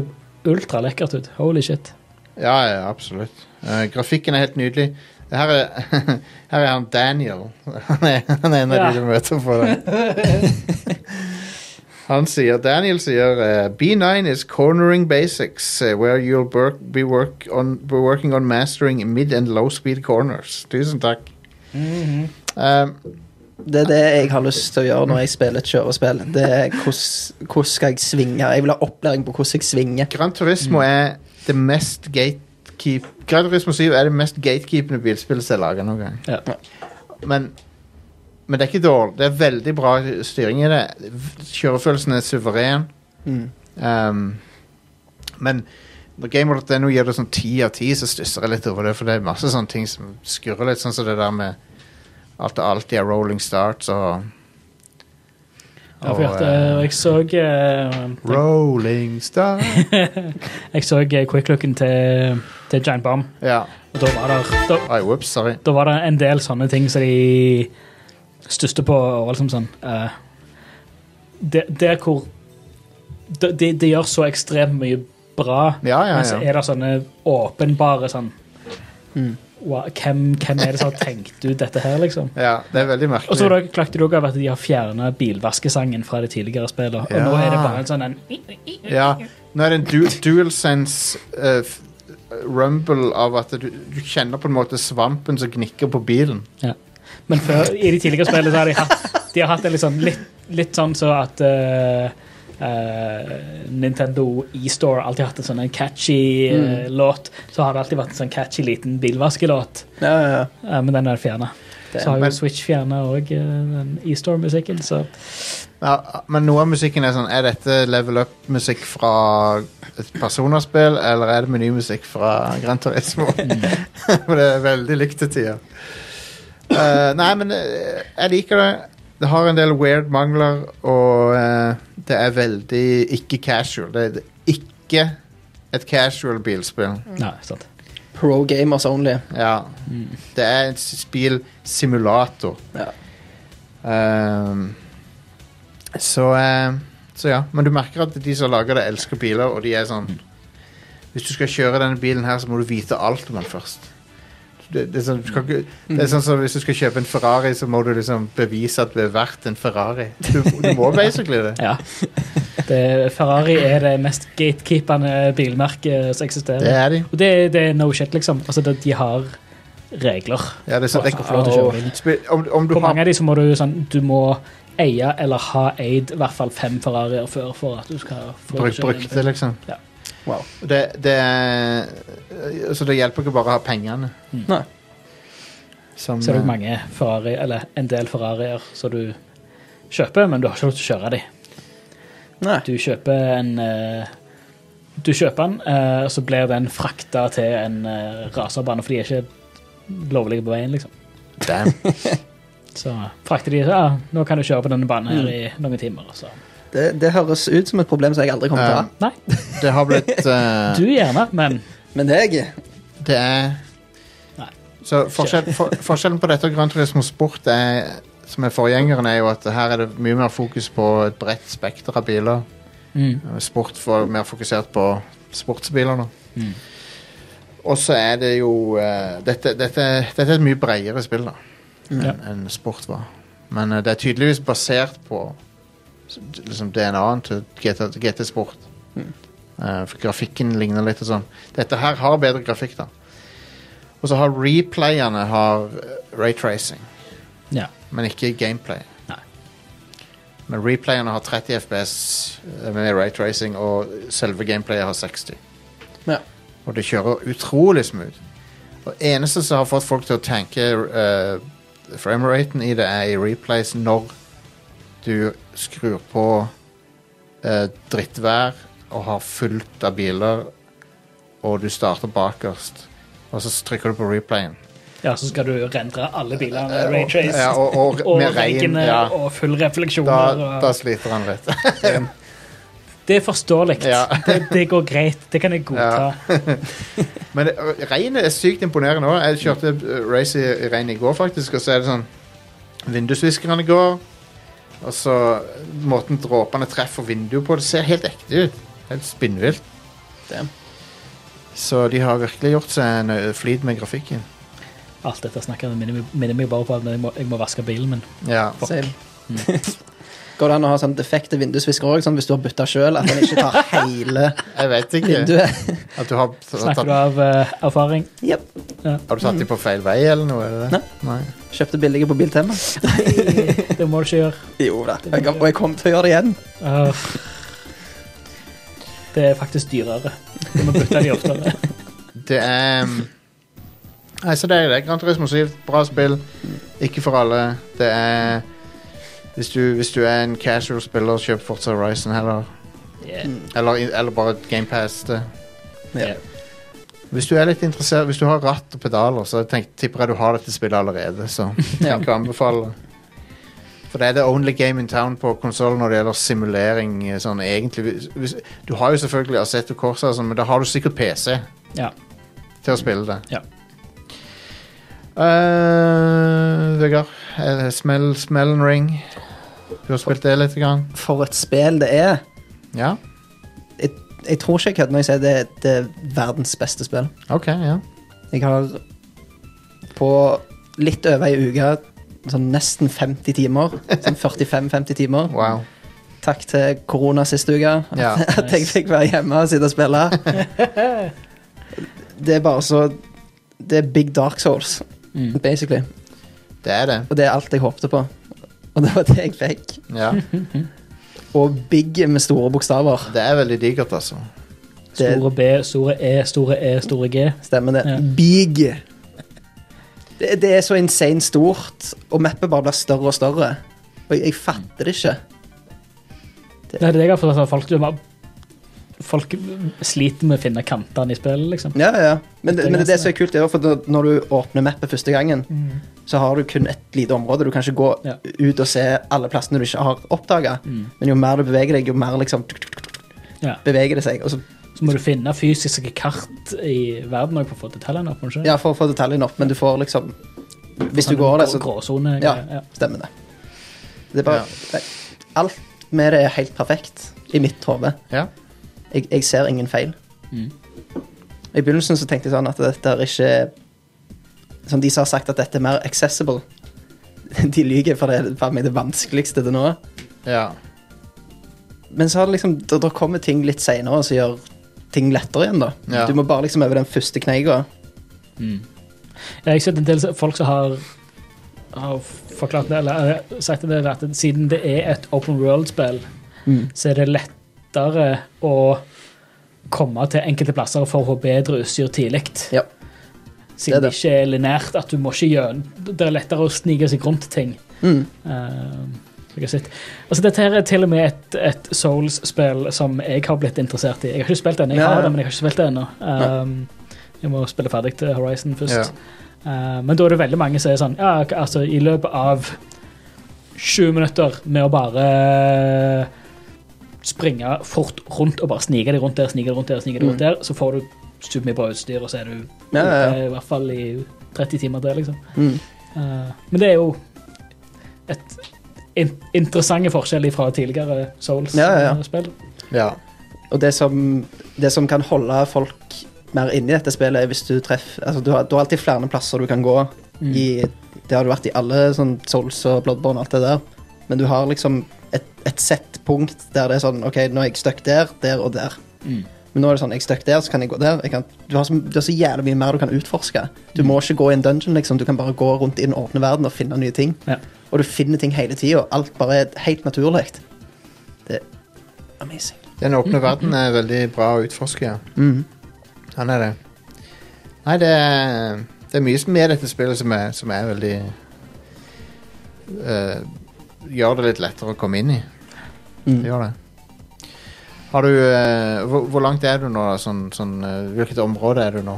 ultralekkert ut. Holy shit. Ja, ja, absolutt. Eh, grafikken er helt nydelig. Her er, <laughs> her er han Daniel. Han er, han er en av Ja. de du møter på der. Han sier, Daniel sier eh, B9 is cornering basics eh, where you'll work, be, work on, be working on mastering mid and low speed corners. Tusen takk. Um, Det er det jeg har lyst til å gjøre når jeg spiller et kjørespill. Det er hvordan hvordan skal jeg svinge. Jeg vil ha opplæring på hvordan jeg svinger. Gran Turismo Mm. er det mest gatekeep Gran Turismo 7 er det mest gatekeepende bilspillet som er laga noen gang. Ja. Men, men det er ikke dårlig. Det er veldig bra styring i det. Kjørefølelsen er suveren. Mm. Um, men når gamer.no gir det sånn ti av ti, så stusser jeg litt over det. For det er masse sånne ting som skurrer litt, sånn som det der med at det alltid er rolling starts og Ja, for jeg, hørte- eh, jeg så eh, Rolling start Jeg så eh, quicklooken til, til Giant Bomb, Ja. og da var det da, Oi, whoops, sorry. da var det en del sånne ting som de stusste på. Og liksom sånn eh, det- Der hvor de, de, de gjør så ekstremt mye bra, Ja, ja, men så ja. er det sånne åpenbare sånn Mm. wow, hvem, hvem er det som har tenkt ut dette her, liksom? Ja, det er veldig merkelig. Og så var det- klagde du også av at de har fjerna bilvaskesangen fra det tidligere spillet. Og Ja. nå er det bare en sånn en Ja, nå er det en du DualSense eh, f- rumble av at du, du kjenner på en måte svampen som gnikker på bilen. Ja. Men før, i de tidligere spillene så har de hatt, de har hatt en litt sånn, litt, litt sånn så at eh, eh, Nintendo eStore alltid hatt en sånn en catchy eh, Mm. låt. Så har det alltid vært en sånn catchy liten bilvaskelåt, Ja, ja, ja. eh, men den er fjerna. Så har jo men- Switch fjerna òg den eStore-musikken, så Ja, Ah, men noe av musikken er sånn Er dette level up-musikk fra et personerspill, eller er det menymusikk fra Gran Turismo? <laughs> For det er veldig likt til tider. Eh, nei, men eh, jeg liker det. Det har en del weird mangler, og eh, det er veldig ikke casual. Det er ikke et casual bilspill. Nei, sant. Pro gamers only. Ja. Mm. Det er et spillsimulator. Ja. Ehm, så, eh, så ja. Men du merker at de som lager det, elsker biler, og de er sånn Mm. Hvis du skal kjøre denne bilen her, så må du vite alt om den først. Det, det, er sånn, du kan ikke, Mm. det er sånn som hvis du skal kjøpe en Ferrari, så må du liksom bevise at du er verdt en Ferrari. Du, du må basically <laughs> det. Ja. Det, Ferrari er det mest gatekeepende bilmerket som eksisterer. Det er de. Og det, det er no shit, liksom. Altså, det, de har regler. Ja, det er sånn, Folk skal få lov til å kjøre bil. Spe- om, om du På har mange av de så må du sånn Du må eie eller ha eid i hvert fall fem Ferrarier før for at du skal få bruk, lov til å kjøre brukt det, bil. liksom. Ja. Wow. Det, det er, så det hjelper ikke bare å ha pengene. Nei. Som, Mm. Så er det eh, mange Ferrari, eller en del Ferrarier som du kjøper, men du har ikke lov til å kjøre dem. Nei. Du kjøper en eh, Du kjøper den, eh, og så blir den frakta til en eh, raserbane, for de er ikke lovlige på veien, liksom. damn. <laughs> Så frakter de ja, nå kan du kjøre på denne banen her i noen timer. og Så. Det, det høres ut som et problem som jeg aldri kommer til å ha. Nei, Det har <laughs> blitt eh, du gjerne, men Men det er jeg. Det er Nei. Så forskjell, for, forskjellen på dette og Gran Turismo Sport er, som er forgjengeren, er jo at her er det mye mer fokus på et bredt spekter av biler. mm, Eh, Sport for, mer fokusert på sportsbiler nå. Og så er det jo eh, dette, dette, dette er et mye bredere spill da enn Ja. enn sport var. Men eh, det er tydeligvis basert på s- liksom DNA-en til GT, GT Sport. Eh, for grafikken ligner litt og sånn. Dette her har bedre grafikk, da. Og så har replayene har eh, raytracing, ja. men ikke gameplay. Nei. Men replayene har 30 FPS eh, med raytracing, og selve gameplayet har 60. Ja. Og det kjører utrolig smooth. Og eneste som har fått folk til å tenke uh, frameraten i det, er i replays når du skrur på eh, drittvær og har fullt av biler, og du starter bakerst, og så trykker du på replayen. ja, så skal du rendre alle bilene med raytrace Ja, og, og, <laughs> og med regn. reggene Ja. og full refleksjoner. Da, og- da sliter han litt. <laughs> Det er forståelig. Ja. <laughs> det, det går greit. Det kan jeg godta. Men det- ø, regnet er sykt imponerende òg. Jeg kjørte ø, race i i regn i går, faktisk, og så er det sånn Vindusviskerne går, og så måten dråpene treffer vinduet på, det ser helt ekte ut. Helt spinnvilt. Damn. Så de har virkelig gjort seg en ø, flid med grafikken. Alt dette snakker minner meg- minner meg bare på at jeg må, jeg må vaske bilen min. Ja. Same. <laughs> Går det an å ha sånn defekte vindusvisker òg, sånn hvis du har bytta sjøl? At den ikke tar <laughs> hele Jeg vet ikke. vinduet? At du har Snakker du tatt, av eh, erfaring? Yep. har du tatt dem på feil vei, eller noe? Er det det? Nei. Kjøpte billige på Biltema. Det må du ikke gjøre. Jo da. Og jeg- og jeg kommer til å gjøre det igjen. Åh. det er faktisk dyrere. Du må bytte de oftere. Det er um, Nei, så det er det. Gran Turismo 7, bra spill. Ikke for alle. Det er Hvis du, hvis du er en casual spiller, kjøp Forza Horizon heller. Yeah. Eller, eller bare GamePass det. Ja. Hvis du er litt interessert Hvis du har ratt og pedaler, så tenk, tipper jeg du har dette spillet allerede. Så <laughs> Ja. jeg kan anbefale det. For det er the only game in town på konsoll når det gjelder simulering. eh, Sånn, egentlig, hvis, hvis, du har jo selvfølgelig Assetto Corsa, og sånn, men da har du sikkert PC Ja. til å spille det. Ja. Eh, Vegard, eh, smell, smell and ring. Du har spilt det litt? Grann. For et spill det er. Ja? Jeg, jeg tror ikke jeg kødder når jeg sier det, det er verdens beste spill. OK, ja. Jeg har på litt over ei uke sånn nesten 50 timer. Sånn 45-50 timer. Wow. Takk til korona siste uke. Ja. <laughs> At jeg fikk være hjemme og sitte og <laughs> spille. Det er bare så Det er big dark souls, basically. <laughs> Det er det. Og det er alt jeg håpte på. Og det var det jeg fikk. Ja. og big med store bokstaver. Det er veldig digert, altså. Det Store B, store E, store E, store G. stemmer, det. Ja. Big. Det, det er så insane stort, og mappet bare blir større og større. Og jeg, jeg fatter det ikke. Det er det jeg har forstått. sånn at Folk, folk sliter med å finne kantene i spillet, liksom. Ja, ja. Men Det er det, men det, ganske- er Mm. det som er kult, er jo for når- når du åpner mappet første gangen, så har du kun et lite område. Du kan ikke gå Ja. Mm. ut og se alle plassene du ikke har oppdaga. Men jo mer du beveger deg, jo mer liksom tuk, tuk, tuk, Ja. beveger det seg. Og så, Så må du finne fysiske kart i verden også for å få detaljene opp. må du ikke? ja, for å få detaljene opp, men du får liksom Hvis du Sånn går der, grå- så Gråsone. Ja, greier, ja. stemmer det. Det er bare nei, Alt med det er helt perfekt i mitt hode. Ja. Jeg, jeg ser ingen feil. I begynnelsen så tenkte jeg sånn at dette er ikke Som de som har sagt at dette er mer accessible. <laughs> De lyver, for det er faen meg det vanskeligste til nå. ja. Men så har det liksom Da, da kommer ting litt seinere som gjør ting lettere igjen, da. Ja. Du må bare liksom over den første kneika. Jeg har sett en del folk som har, har forklart det, eller eh, sagt det, at siden det er et open world-spill, Mm. så er det lettere å komme til enkelte plasser for å få bedre utstyr tidlig. Ja. Siden det det er det. ikke er linært, at du må ikke gjøre Det er lettere å snike seg rundt ting. Mm. Eh, jeg har sett. Altså, dette her er til og med et, et Souls-spill som jeg har blitt interessert i. Jeg har ikke spilt det ennå, jeg Ja, ja. har det, men jeg har ikke spilt det ennå. Um, jeg må spille ferdig til Horizon først. Eh, men da er det veldig mange som er sånn ja, ok, altså, I løpet av 20 minutter med å bare eh, springe fort rundt og bare snike deg rundt der, snike deg rundt der, snike deg rundt der, så får du supermye bra utstyr, og så er du Mm. Ja, ja, ja. i hvert fall i 30 timer der, liksom. Mm. Eh, men det er jo et in interessante forskjell fra tidligere Souls-spill. Ja, ja, ja. ja. Og det som, det som kan holde folk mer inne i dette spillet, er hvis du treffer altså, du, har, du har alltid flere plasser du kan gå. I, det har du vært i alle sånn Souls og Bloodborne og alt det der. Men du har liksom et, et sett punkt der det er sånn OK, nå er jeg stuck der, der og der. Men nå er det sånn, jeg er stuck der, så kan jeg gå der. Jeg kan, du, har så, du har så jævlig mye mer du kan utforske. Du må ikke gå i en dungeon, liksom. Du kan bare gå rundt i den åpne verden og finne nye ting. Ja. Og du finner ting hele tida. Alt bare er helt naturlig. Det er amazing. Den åpne verden er veldig bra å utforske, ja. Mm. Han er det. Nei, det er, det er mye som er i dette spillet som er, som er veldig eh, Gjør det litt lettere å komme inn i. Mm. Det gjør det. Har du eh, hvor, hvor langt er du nå? da? Sånn, sånn, eh, hvilket område er du nå?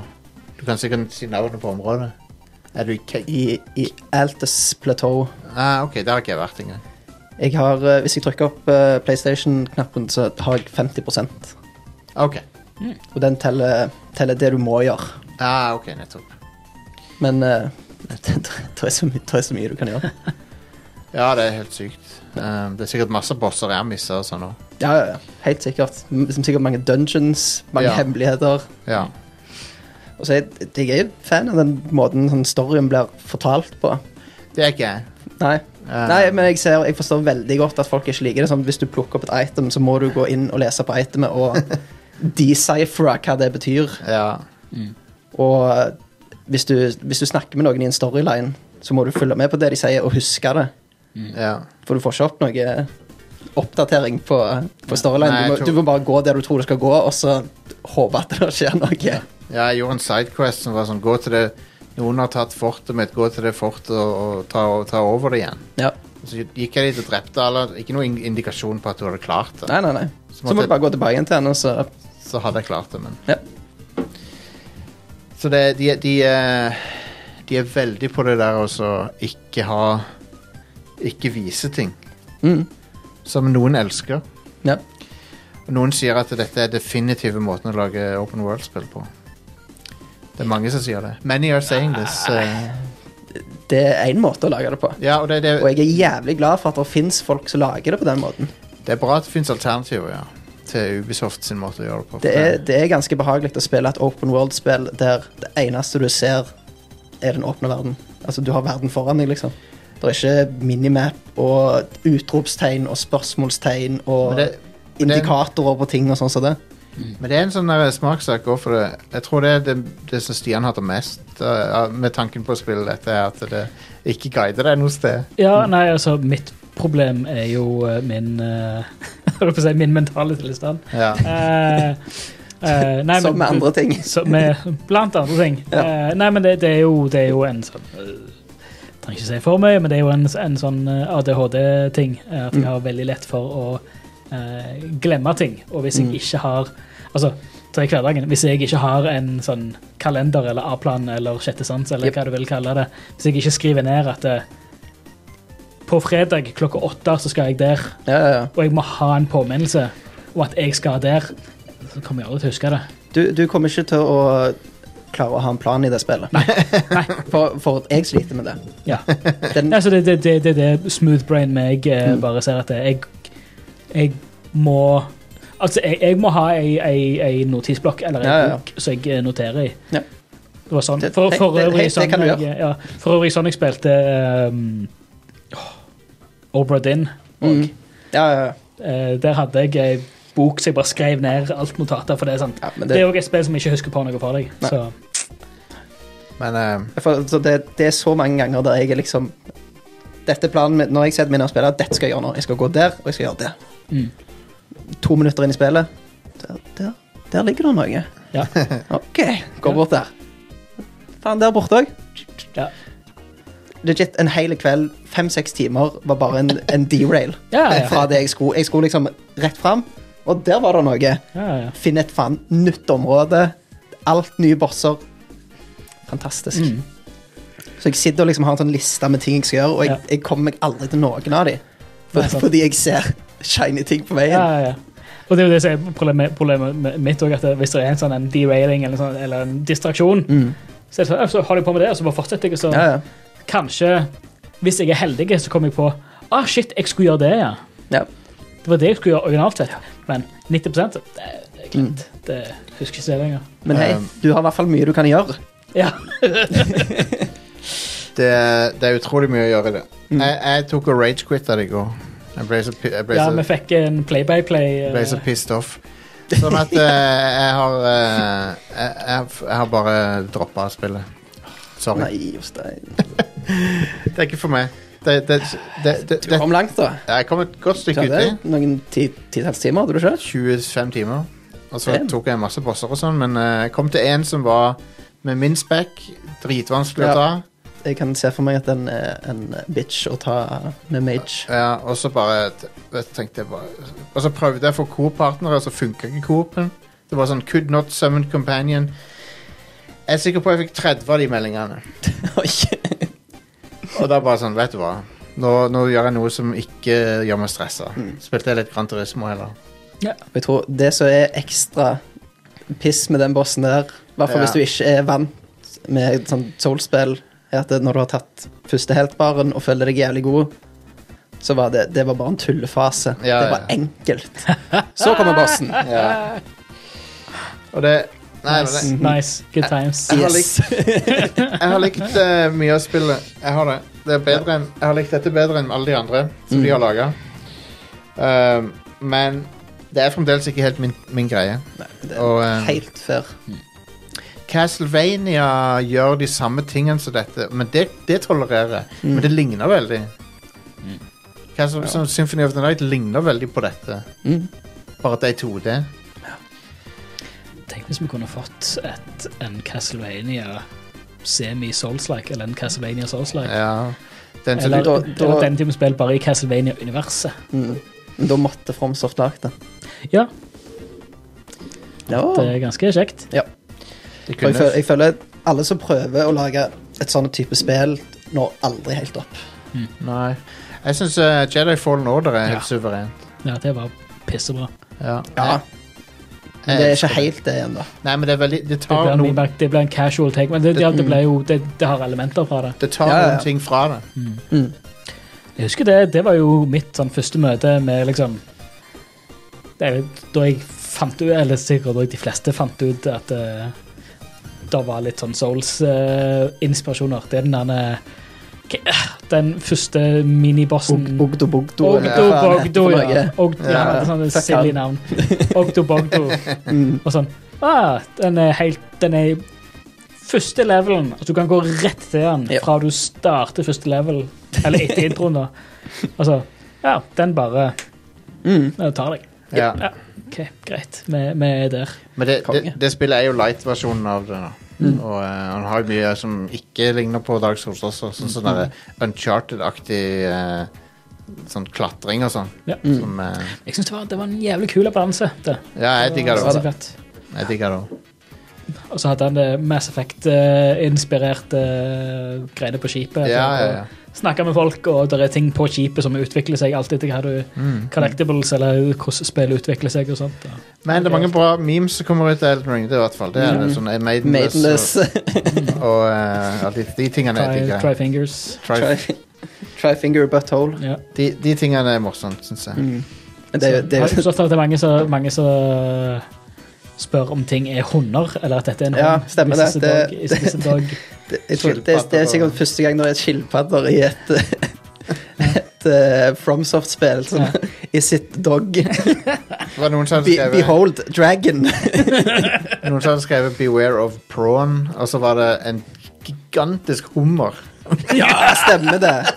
Du kan sikkert si navnet på området. Er du i Cape? i, i Altus Plateau. Ah, ok, der har ikke jeg vært engang. Jeg har, eh, hvis jeg trykker opp eh, PlayStation-knappen, så har jeg 50 Ok, Og den teller, teller det du må gjøre. ah, ok, nettopp. Men eh, <laughs> det, det, er så mye, det er så mye du kan gjøre. Ja, det er helt sykt. Eh, det er sikkert masse bosser jeg har missa og sånn òg. Ja, ja, ja. Helt sikkert. M- Som sikkert mange dungeons, mange Ja. hemmeligheter. Ja. Og så er jeg, jeg er jo fan av den måten sånn storyen blir fortalt på. Det er ikke jeg. Nei. Eh, Nei, men jeg, ser, jeg forstår veldig godt at folk ikke liker det. Sånn, hvis du plukker opp et item, så må du gå inn og lese på itemet <laughs> og decifre hva det betyr. Ja. Og eh, hvis du, hvis du snakker med noen i en storyline, så må du følge med på det de sier, og huske det. Mm. ja. For du får ikke opp noe eh, oppdatering på, på storyline. Nei, du, må, jeg tror- du må bare gå der du tror du skal gå, og så håpe at det skjer noe. Ja, jeg gjorde en sidequest som var sånn Gå til det Noen har tatt fortet mitt, gå til det fortet og, og ta, og ta over det igjen. Ja. Så gikk jeg dit og drepte alle. Ikke noen in- indikasjon på at du hadde klart det. Nei, nei, nei. Så måtte- må du bare gå tilbake igjen til henne, og så Så hadde jeg klart det, men Ja. Så det, de, de, eh, de er veldig på det der å så ikke ha Ikke vise ting. Mm. Som noen elsker. Ja. Og Noen sier at dette er definitive måten å lage open world-spill på. Det er mange som sier det. Many are saying this. eh. Det er én måte å lage det på. ja, og det, det, Og jeg er jævlig glad for at det fins folk som lager det på den måten. det er bra at det fins alternativer ja, til Ubisoft sin måte å gjøre det på. Det er, det er ganske behagelig å spille et open world-spill der det eneste du ser, er den åpne verden. Altså, du har verden foran deg, liksom. Det er ikke minimap og utropstegn og spørsmålstegn og Men det- men det- indikatorer på ting og sånn som det. Men det er en sånn der smakssak òg, for det. jeg tror det er det, det som Stian hater mest eh, med tanken på å spille dette, er at det ikke guider deg noe sted. Ja, nei, altså, mitt problem er jo eh, <laughs> min eh, holdt på å si, min mentale tilstand. Ja. Eh, eh, nei, Som men- med andre ting. så med, blant andre ting. Eh, nei, men det, det, er jo, det er jo en sånn eh, Trenger ikke si for mye, men det er jo en, en sånn ADHD-ting. eh, At jeg har veldig lett for å eh, glemme ting. Og hvis jeg ikke har Altså, til hverdagen, hvis jeg ikke har en sånn kalender eller A-plan eller sjette sans, eller Yep. hva du vil kalle det, hvis jeg ikke skriver ned at eh, på fredag klokka åtte så skal jeg der, Ja, ja, ja. og jeg må ha en påminnelse om at jeg skal der, så kommer jeg aldri til å huske det. Du, du kommer ikke til å klare å ha en plan i det spillet. <laughs> For, for jeg sliter med det. Ja. Den, Mm. Ja, så det det- det- det er det smooth brain meg eh, bare ser at jeg, jeg må Altså, jeg, jeg må ha ei, ei, ei notisblokk eller ei Ja, ja, ja. bok som jeg eh, noterer i. Ja. Det var sånn. Det- For, det- for, det- øvrig, det- det sånn kan du jeg, ja, for øvrig sånn jeg spilte um, Obra Dinn. mm. Ja, ja, ja. Eh, der hadde jeg ei bok som jeg bare skrev ned alt notater for. Det er sant. ja. Men Det det, er òg et spill som jeg ikke husker på noe for deg. Nei. Så Men eh, for, så det, det er så mange ganger der jeg er liksom Dette er planen min når jeg setter meg ned og spiller. Dette skal jeg gjøre nå. Jeg skal gå der, og jeg skal gjøre det. Mm. To minutter inn i spillet. Der, der, der ligger det noe. <laughs> ja. OK, gå bort der. Faen, der borte òg. Ja. Legit, en hel kveld, fem-seks timer, var bare en, en derail Ja, ja. fra det jeg skulle. Jeg skulle liksom rett fram, og der var det noe. Ja, ja. Finne et faen nytt område. Alt nye bosser. Fantastisk. Mm. Så jeg sitter og liksom har en sånn liste med ting jeg skal gjøre, og jeg, Ja. jeg kommer meg aldri til noen av de. For, Nei, sant. fordi jeg ser shiny ting på veien. Ja, ja, ja. Og det er jo det som er problemet, problemet med- mitt også, at det- hvis det er en sånn en derailing eller, en sånn, eller en distraksjon, så, er det sånn, «Ja, så holder jeg på med det, og så bare fortsetter jeg, og så Mm. Ja, ja. kanskje, hvis jeg er heldig, så kommer jeg på, ah, shit, jeg skulle gjøre det, ja. Ja. Det var det jeg skulle gjøre originalt sett, men 90 det er glemt. Det husker ikke jeg lenger. Mm. Men hei, Um. du har i hvert fall mye du kan gjøre. Ja. det, er- det er utrolig mye å gjøre i det. Mm. Jeg, jeg tok og ragequitta det i går. Jeg ble så, pi- jeg ble ja, så vi fikk en play-by-play. eh, ble så pissed off. Sånn at eh, jeg har eh, jeg, jeg, jeg har bare droppa spillet. Sorry. Nei, Jostein. Det er ikke for meg. Det, det, det, det, Du det, kom langt, da. jeg kom et godt Du stykke hadde uti. noen ti- titalls timer, hadde du ikke? 25 timer. Og så Damn. tok jeg masse bosser og sånn, men eh, jeg kom til en som var med min spekk. Dritvanskelig å Ja. ta. Jeg kan se for meg at den er en bitch å ta med mage. Ja, eh, og så bare t- vet, tenkte jeg bare Og så prøvde jeg for Coop-partnere, og så funka ikke Coop-en. Det var sånn Could not summon companion. Jeg er sikker på jeg fikk 30 av de meldingene. <laughs> Oi. Og da bare sånn, vet du hva Nå, nå gjør jeg noe som ikke gjør meg stressa Mm. Spilte jeg litt Gran Turismo heller Jeg tror det som er ekstra piss med den bossen der, i hvert fall Ja. hvis du ikke er vant med sånn soulspill, er at når du har tatt første heltbaren og føler deg jævlig god, så var det, det var bare en tullefase. Ja, det var ja. enkelt. Så kommer <laughs> bossen. Og det Nei, men Nice, det, eh, nice, good times. Jeg har Yes. jeg har likt eh, mye av spillet Jeg har det, det er bedre enn Jeg har likt dette bedre enn alle de andre Som Mm. de har laget Ehm, Men det er fremdeles ikke helt min, min greie Det Og er eh, helt fair. Castlevania gjør de samme tingene som dette Men det, det tolererer jeg Mm. Men det ligner veldig Castle, som Symphony of the Night ligner veldig på dette Mm. Bare at det er 2D Tenk hvis vi kunne fått et, en Castlevania semi-Souls-like, eller en Castlevania Souls-like. Ja. Den som Eller, du, da- da- eller den type spill bare i Castlevania-universet. Mm. Men da måtte Fromsoft lagt det. Ja, Ja. det er ganske kjekt. det Og jeg, føler, kunne, jeg føler at alle som prøver å lage et sånn type spill, når aldri helt opp. Nei. Jeg syns Jedi Fallen Order er helt Ja. suverent. Ja, det var pissebra. Ja. Mm. Ja, men det er ikke helt det ennå. Nei, men det er veldig Det Det ble, tar, en, noen- remake, det ble en casual take, men det, ja, det, ble jo, det, det har elementer fra det. det tar Ja, ja, ja. noen ting fra det. Jeg husker det, det var jo mitt sånn første møte med liksom det er, jo Da jeg fant ut, eller sikkert også de fleste fant ut at eh, det var litt sånn Souls-inspirasjoner. det er den derne Hva- eh, Den første minibossen Ogdo Bogdo. Ogdo Bogdo, ja. Og, ja, Ja, han hadde sånne fuck silly han. navn. Ogdo Bogdo. Og sånn. Ah, den er helt Den er i første levelen. Altså, du kan gå rett til den Ja. fra du starter første level. Eller etter introen, da. Altså, ja, den bare Mm. ja, tar deg. Ja. Ja, OK, greit. Vi, vi er der. Men det, det, Konge. det spillet er jo light-versjonen av det. da Og eh, han har jo mye som ikke ligner på Dark Souls også. Sånn sånn derre Uncharted-aktig eh, sånn klatring og sånn. Ja. Som, eh, Jeg syns det, var- det var en jævlig kul balanse. Det. ja, jeg digger det var også. så fett. Jeg digger det også. Og så hadde han det Mass Effect-inspirerte eh, greiene på skipet. Ja, ja, ja. Snakke med folk, og det er ting på skipet som utvikler seg alt etter hva du Mm, collectibles eller hvordan spillet utvikler seg. og sånt. da. Men det er mange bra memes som kommer ut av Elden Ring. Det er i hvert fall det. er sånn eh, Maidenless, Maidenless og, og eh, alle de, de tingene jeg Try, digger. try fingers. Try- try, try finger butthole. Ja. De, de tingene er morsomt, syns jeg. Men det, er jo- det, Har er du jo- forstått at det er mange som, mange som spør om ting er hunder, eller at dette er en Ja, hund? stemmer Is this det. a Det- dog? Is this a dog? <laughs> det, jeg tror, det, er- det er sikkert første gang det er skilpadder i et et eh, FromSoft-spill som Ja. i sitt dog. Det var noen som hadde Be, skrevet, behold dragon. noen som hadde skrevet 'Beware of prawn', og så var det en gigantisk hummer. Ja, <laughs> stemmer det.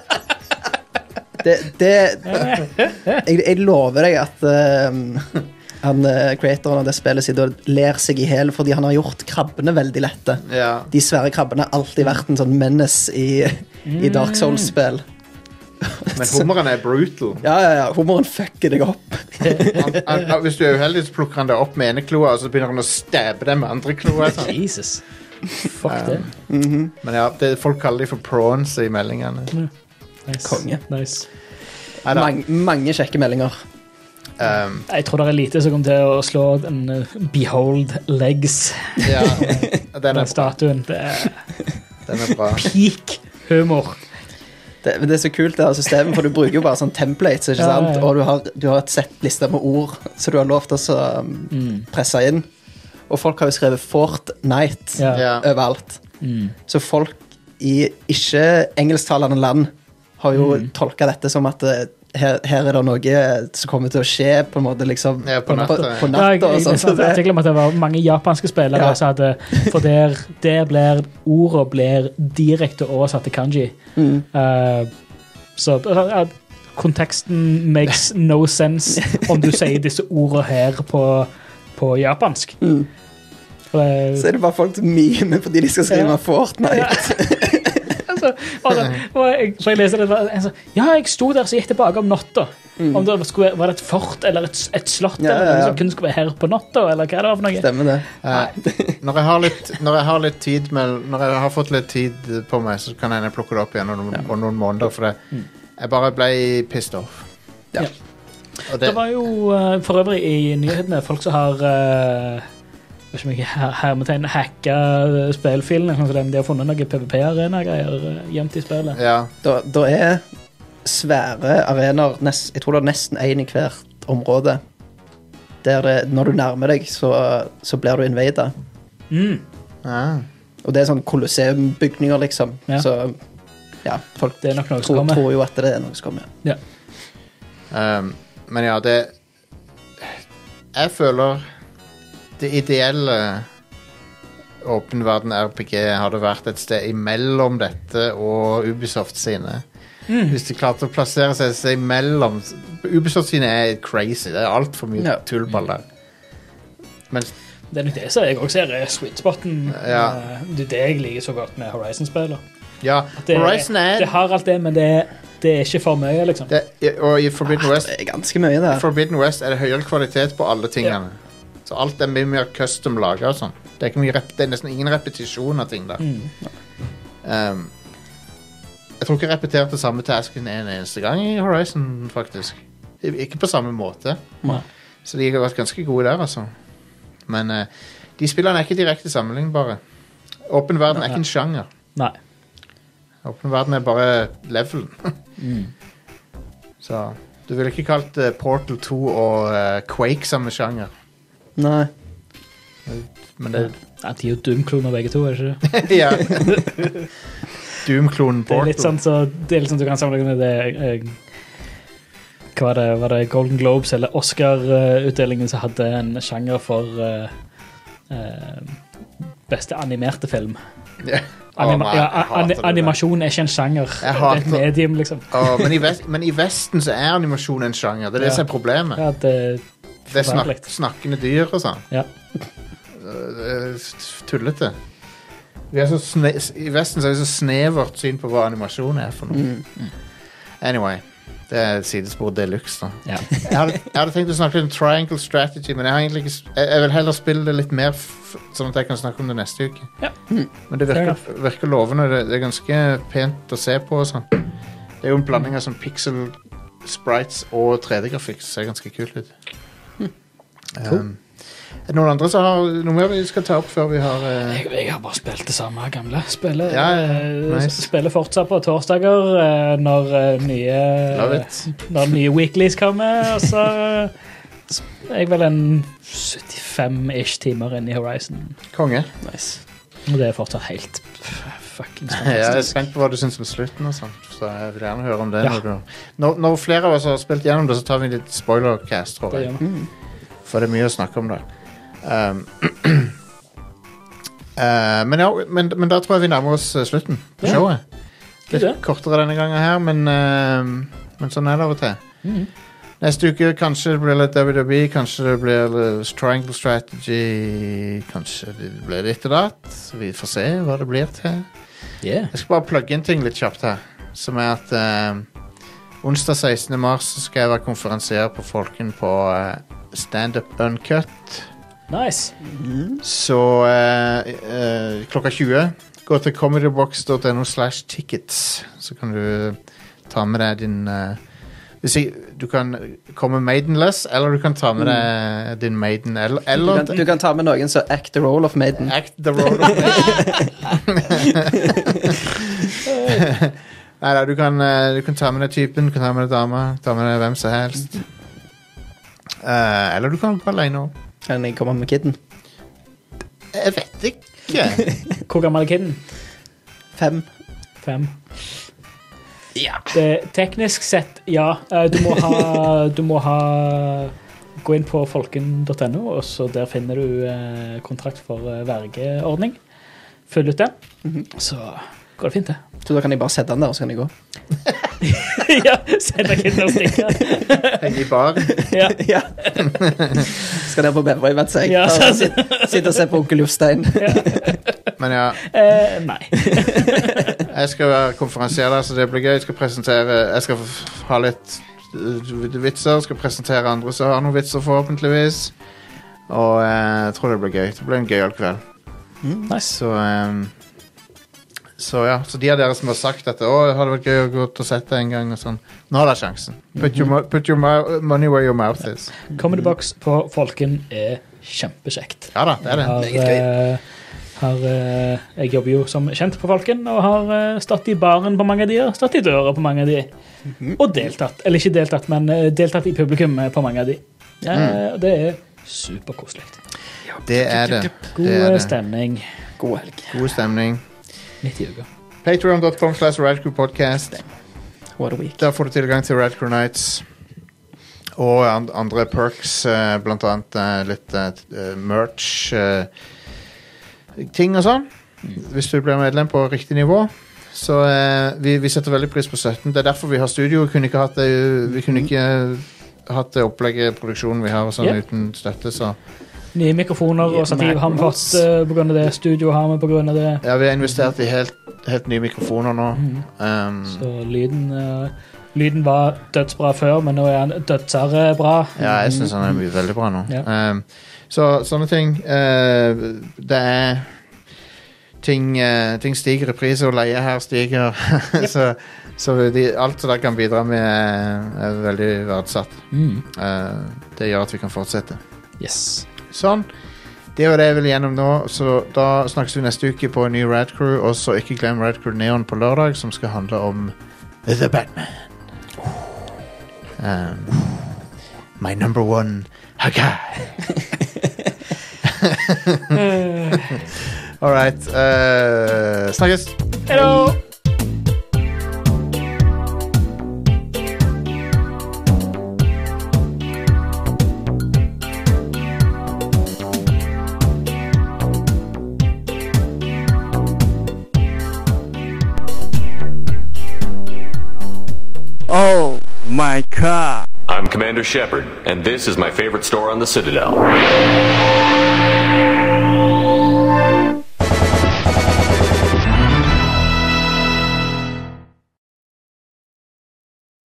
Det, det jeg, jeg lover deg at ehm, han, eh, creatoren av det spillet sitter og ler seg i hjel fordi han har gjort krabbene veldig lette. Ja. De svære krabbene har alltid vært en sånn menace i, i Dark Souls-spill. Men hummeren er brutal. Ja, ja, ja. Humoren fucker deg opp. han, han, han- hvis du er uheldig, så plukker han deg opp med ene kloa, og så begynner han å stabbe deg med andre kloa. Sånn. Jesus. Fuck det. Men ja, det, folk kaller de for prawns i meldingene. Nice. Konge. Nice. Neida, Mang, mange kjekke meldinger. ehm, Jeg tror det er lite som kommer til å slå en eh, Behold Legs. ja, den, den er, bra, statuen. Det er den er bra. peak humor. Det, men det er så kult, det her systemet, for du bruker jo bare sånn templates, ikke Ja, ja, sant? ja. Og du har, du har et sett lister med ord som du har lov til å så, um, Mm. presse inn. Og folk har jo skrevet Fortnite Ja. Mm. Ja. overalt. Så folk i ikke-engelsktalende land har jo Mm. tolket tolka dette som at eh, her, her er det noe som kommer til å skje på en måte liksom Ja, på natta, på, ja. på Jeg, natta og jeg, sånn. Så leste en det, artikkel om at det var mange japanske spillere Ja. som hadde For der, der blir ordene blir direkte oversatt til kanji. Eh, så eh, konteksten makes no sense om du sier disse ordene her på, på japansk. For det- så er det bare folk som mimer fordi de skal skrive Ja. Fortnite. altså, og <laughs> da- og jeg, så jeg leste det, var en sånn, Ja, jeg sto der, så gikk det tilbake om natta. Om det skulle, være- var det et fort eller et, et slott Mm. Ja, eller ja, noe ja. som kun skulle være her på natta? Eller hva det var for noe. Stemmer det. Eh, når, jeg har litt, når jeg har litt tid med, Når jeg har fått litt tid på meg, så kan jeg hende jeg plukke det opp igjen om noen, om noen måneder. For det, jeg bare ble pissed off. Ja. Ja. Og det, Det var jo eh, for øvrig i nyhetene folk som har eh, vet ikke om jeg her- hermetegn hacka eh, spillfilene. sånn som den. De har funnet noen PVP-arena-greier eh, gjemt i spillet. ja, Da, da er svære arenaer nest, Jeg tror det er nesten én i hvert område. Der det, når du nærmer deg, så, så blir du invada. Mm. Ah. Og det er sånn kolosseumbygninger, liksom. Ja. Så ja, folk Det er nok noe som tror, kommer. tror jo at det er noe som kommer. Ja. Um, men ja, det Jeg føler det ideelle åpen verden RPG hadde vært et sted imellom dette og Ubisoft sine. Hvis de klarte å plassere seg et sted imellom Ubisoft sine er crazy. Det er altfor mye Ja. tullball der. Mens Det er nok det som jeg også ser er sweet spoten. Ja. Eh, Det er det jeg liker så godt med Horizon-spillet. Ja, Det, Horizon er det har alt det, men det, det er ikke for mye, liksom. det, Og i Forbidden West Det er ganske mye I der. Forbidden West er det høyere kvalitet på alle tingene. Så alt er mye mer custom laga og sånn. Det er, ikke mye rep det er nesten ingen repetisjon av ting der. Um, jeg tror ikke jeg repeterte samme tasken en eneste gang i Horizon, faktisk. I- Ikke på samme måte. Nei. Så de har vært ganske gode der, altså. Men eh, de spillene er ikke direkte sammenlignbare. Åpen verden er ikke en sjanger. Nei. Åpen verden er bare levelen. Mm. Så du ville ikke kalt eh, Portal 2 og eh, Quake samme sjanger. Nei. Men det <laughs> Ja, de er jo dumkloner begge to, er det ikke det? Ja. Doom-klonen Det er litt Portal. sånn så, det er litt sånn du kan sammenligne med det eh, Hva var det? Var det Golden Globes eller Oscar-utdelingen som hadde en sjanger for eh, eh, beste animerte film? Ja. Å, <laughs> Anima nei, ja, jeg hater an det der. animasjon er ikke en sjanger. Jeg Det er et hater- medium, liksom. Å, men, i vest, men i Vesten så er animasjon en sjanger. Det er det Ja. som er problemet. Ja, det, det er snak forferdelig. snakkende dyr og sånn. Ja. Det er f- tullete. Vi er så sne s- I Vesten så har vi så snevert syn på hva animasjon er for noe. Mm, Anyway. Det er et sidespor de luxe, da. ja. Jeg hadde, jeg hadde tenkt å snakke om Triangle Strategy, men jeg, har egentlig ikke, s- jeg, jeg vil heller spille det litt mer f sånn at jeg kan snakke om det neste uke. Ja. Men det Fair virker, virker lovende. Det, det er ganske pent å se på. og Sånn. Det er jo en blanding av sånn pixel sprites og 3D-grafikk som ser ganske kult ut. Hmm. Um, er det noen andre som har noe mer vi skal ta opp før vi har eh, Jeg, jeg har bare spilt det samme gamle. Spiller, Ja, ja, nice. spiller fortsatt på torsdager eh, når eh, nye Love it. Når nye weeklies kommer. Og så eh, er jeg vel en 75-ish timer inn i Horizon. Konge? Nice. Og det er fortsatt helt f- <laughs> fuckings Jeg er fantastisk. spent på hva du syns om slutten, og sånt, så jeg vil gjerne høre om det. Ja. Når, du, når, når flere av oss har spilt gjennom det, så tar vi litt spoilercast, tror Det jeg. gjør vi. For det er mye å snakke om da. Um, <clears throat> eh, men, ja, men, men da tror jeg vi nærmer oss eh, slutten på Ja. showet. Good, Litt det. kortere denne gangen her, men, eh, men sånn er det av og til. Mhm. Neste uke kanskje det blir litt WWE, kanskje det blir litt Triangle Strategy, kanskje det blir litt og datt. Vi får se hva det blir til. Yeah. Jeg skal bare plugge inn ting litt kjapt her. Som er at eh, onsdag 16. mars så skal jeg være konferansier på Folken på eh, Stand Up Uncut. Nice. Så eh, eh, klokka 20 gå til comedybox.no slash tickets. Så kan du ta med deg din eh, hvis jeg, Du kan komme maidenless, eller du kan ta med deg din maiden. Eller, Mm. Du eller kan, du kan ta med noen som act the role of Maiden. Act the road <laughs> of Nei da, du, kan, eh, du kan ta med deg typen, du kan ta med deg dama, ta med deg hvem som helst. Eh, eller du kan gå alene òg. Kan jeg komme med kidden? Jeg vet ikke. Hvor gammel er kiden? Fem. Fem. Det, teknisk sett, ja. Eh, Du må ha, du må ha Gå inn på folken.no, og så der finner du eh, kontrakt for eh, vergeordning. Følg ut den, så går det fint, det. <laughs> Så da kan jeg bare sette den der, og så kan jeg gå. ja, send deg inn og stikke. Henge i bar. Ja. Ja. <laughs> Skal ned på Beverøy, vet du. Ja, Ja, sant. Sitte sitte og se på Onkel Jostein. Men ja, Eh, nei. jeg skal være konferansier der, så det blir gøy. Jeg skal presentere Jeg skal f- ha litt eh, vitser. Skal presentere andre som har noen vitser, forhåpentligvis. Og eh, jeg tror det blir gøy. Det blir en gøyal kveld. Nice. Så ehm, Så ja, så de av dere som har sagt at Å, det hadde vært gøy å gå ut og sette en gang og sånn Nå har dere sjansen Put your, mo- put your mo- money where your mouth is Comedy Box på Folken er kjempekjekt. Ja da, det er det Har, eh, har, eh, jeg jobber jo som kjent på Folken, og har eh, stått i baren på mange av de, og stått i døra på mange av de. Mhm. Og deltatt. Eller ikke deltatt, men eh, deltatt i publikum eh, på mange av de. Eh, og Det er superkoselig. Mhm. Det er det, God det, er eh, det. stemning God helg. God stemning midt i uka. Patreon.com slash Radcrew podcast What a week. Der får du tilgang til Radcrew Nights Og an- andre perks eh, Blant annet eh, litt eh, t- eh, merch eh, Ting og sånn Mm. Hvis du blir medlem på riktig nivå Så eh, vi, vi setter veldig pris på 17. Det er derfor vi har studio. Vi kunne ikke hatt det, vi Mm. kunne ikke hatt det opplegget, produksjonen vi har og sånn Ja. uten støtte. Så. Nye mikrofoner og stativ har vi fått eh, på grunn av det. Studio har vi på grunn av det. Ja, vi har investert i helt, helt nye mikrofoner nå. Mm. Um, Så lyden, eh, lyden var dødsbra før, men nå er den dødsere bra. ja, jeg syns han er mye veldig bra nå. Ja. Um, så sånne ting eh, Det er Ting, eh, ting stiger i pris, og leie her stiger. <laughs> så så de, alt som dere kan bidra med, er, er veldig verdsatt. Mm. Eh, det gjør at vi kan fortsette. Yes. Sånn. Det var det jeg ville gjennom nå, så da snakkes vi neste uke på en ny Rad Crew. Og så ikke glem Rad Crew Neon på lørdag, som skal handle om The Batman. Um, my number one Hakai. <laughs> All right. eh, snakkes. Hello! Oh my god. I'm Commander Shepard, and this is my favorite store on the Citadel.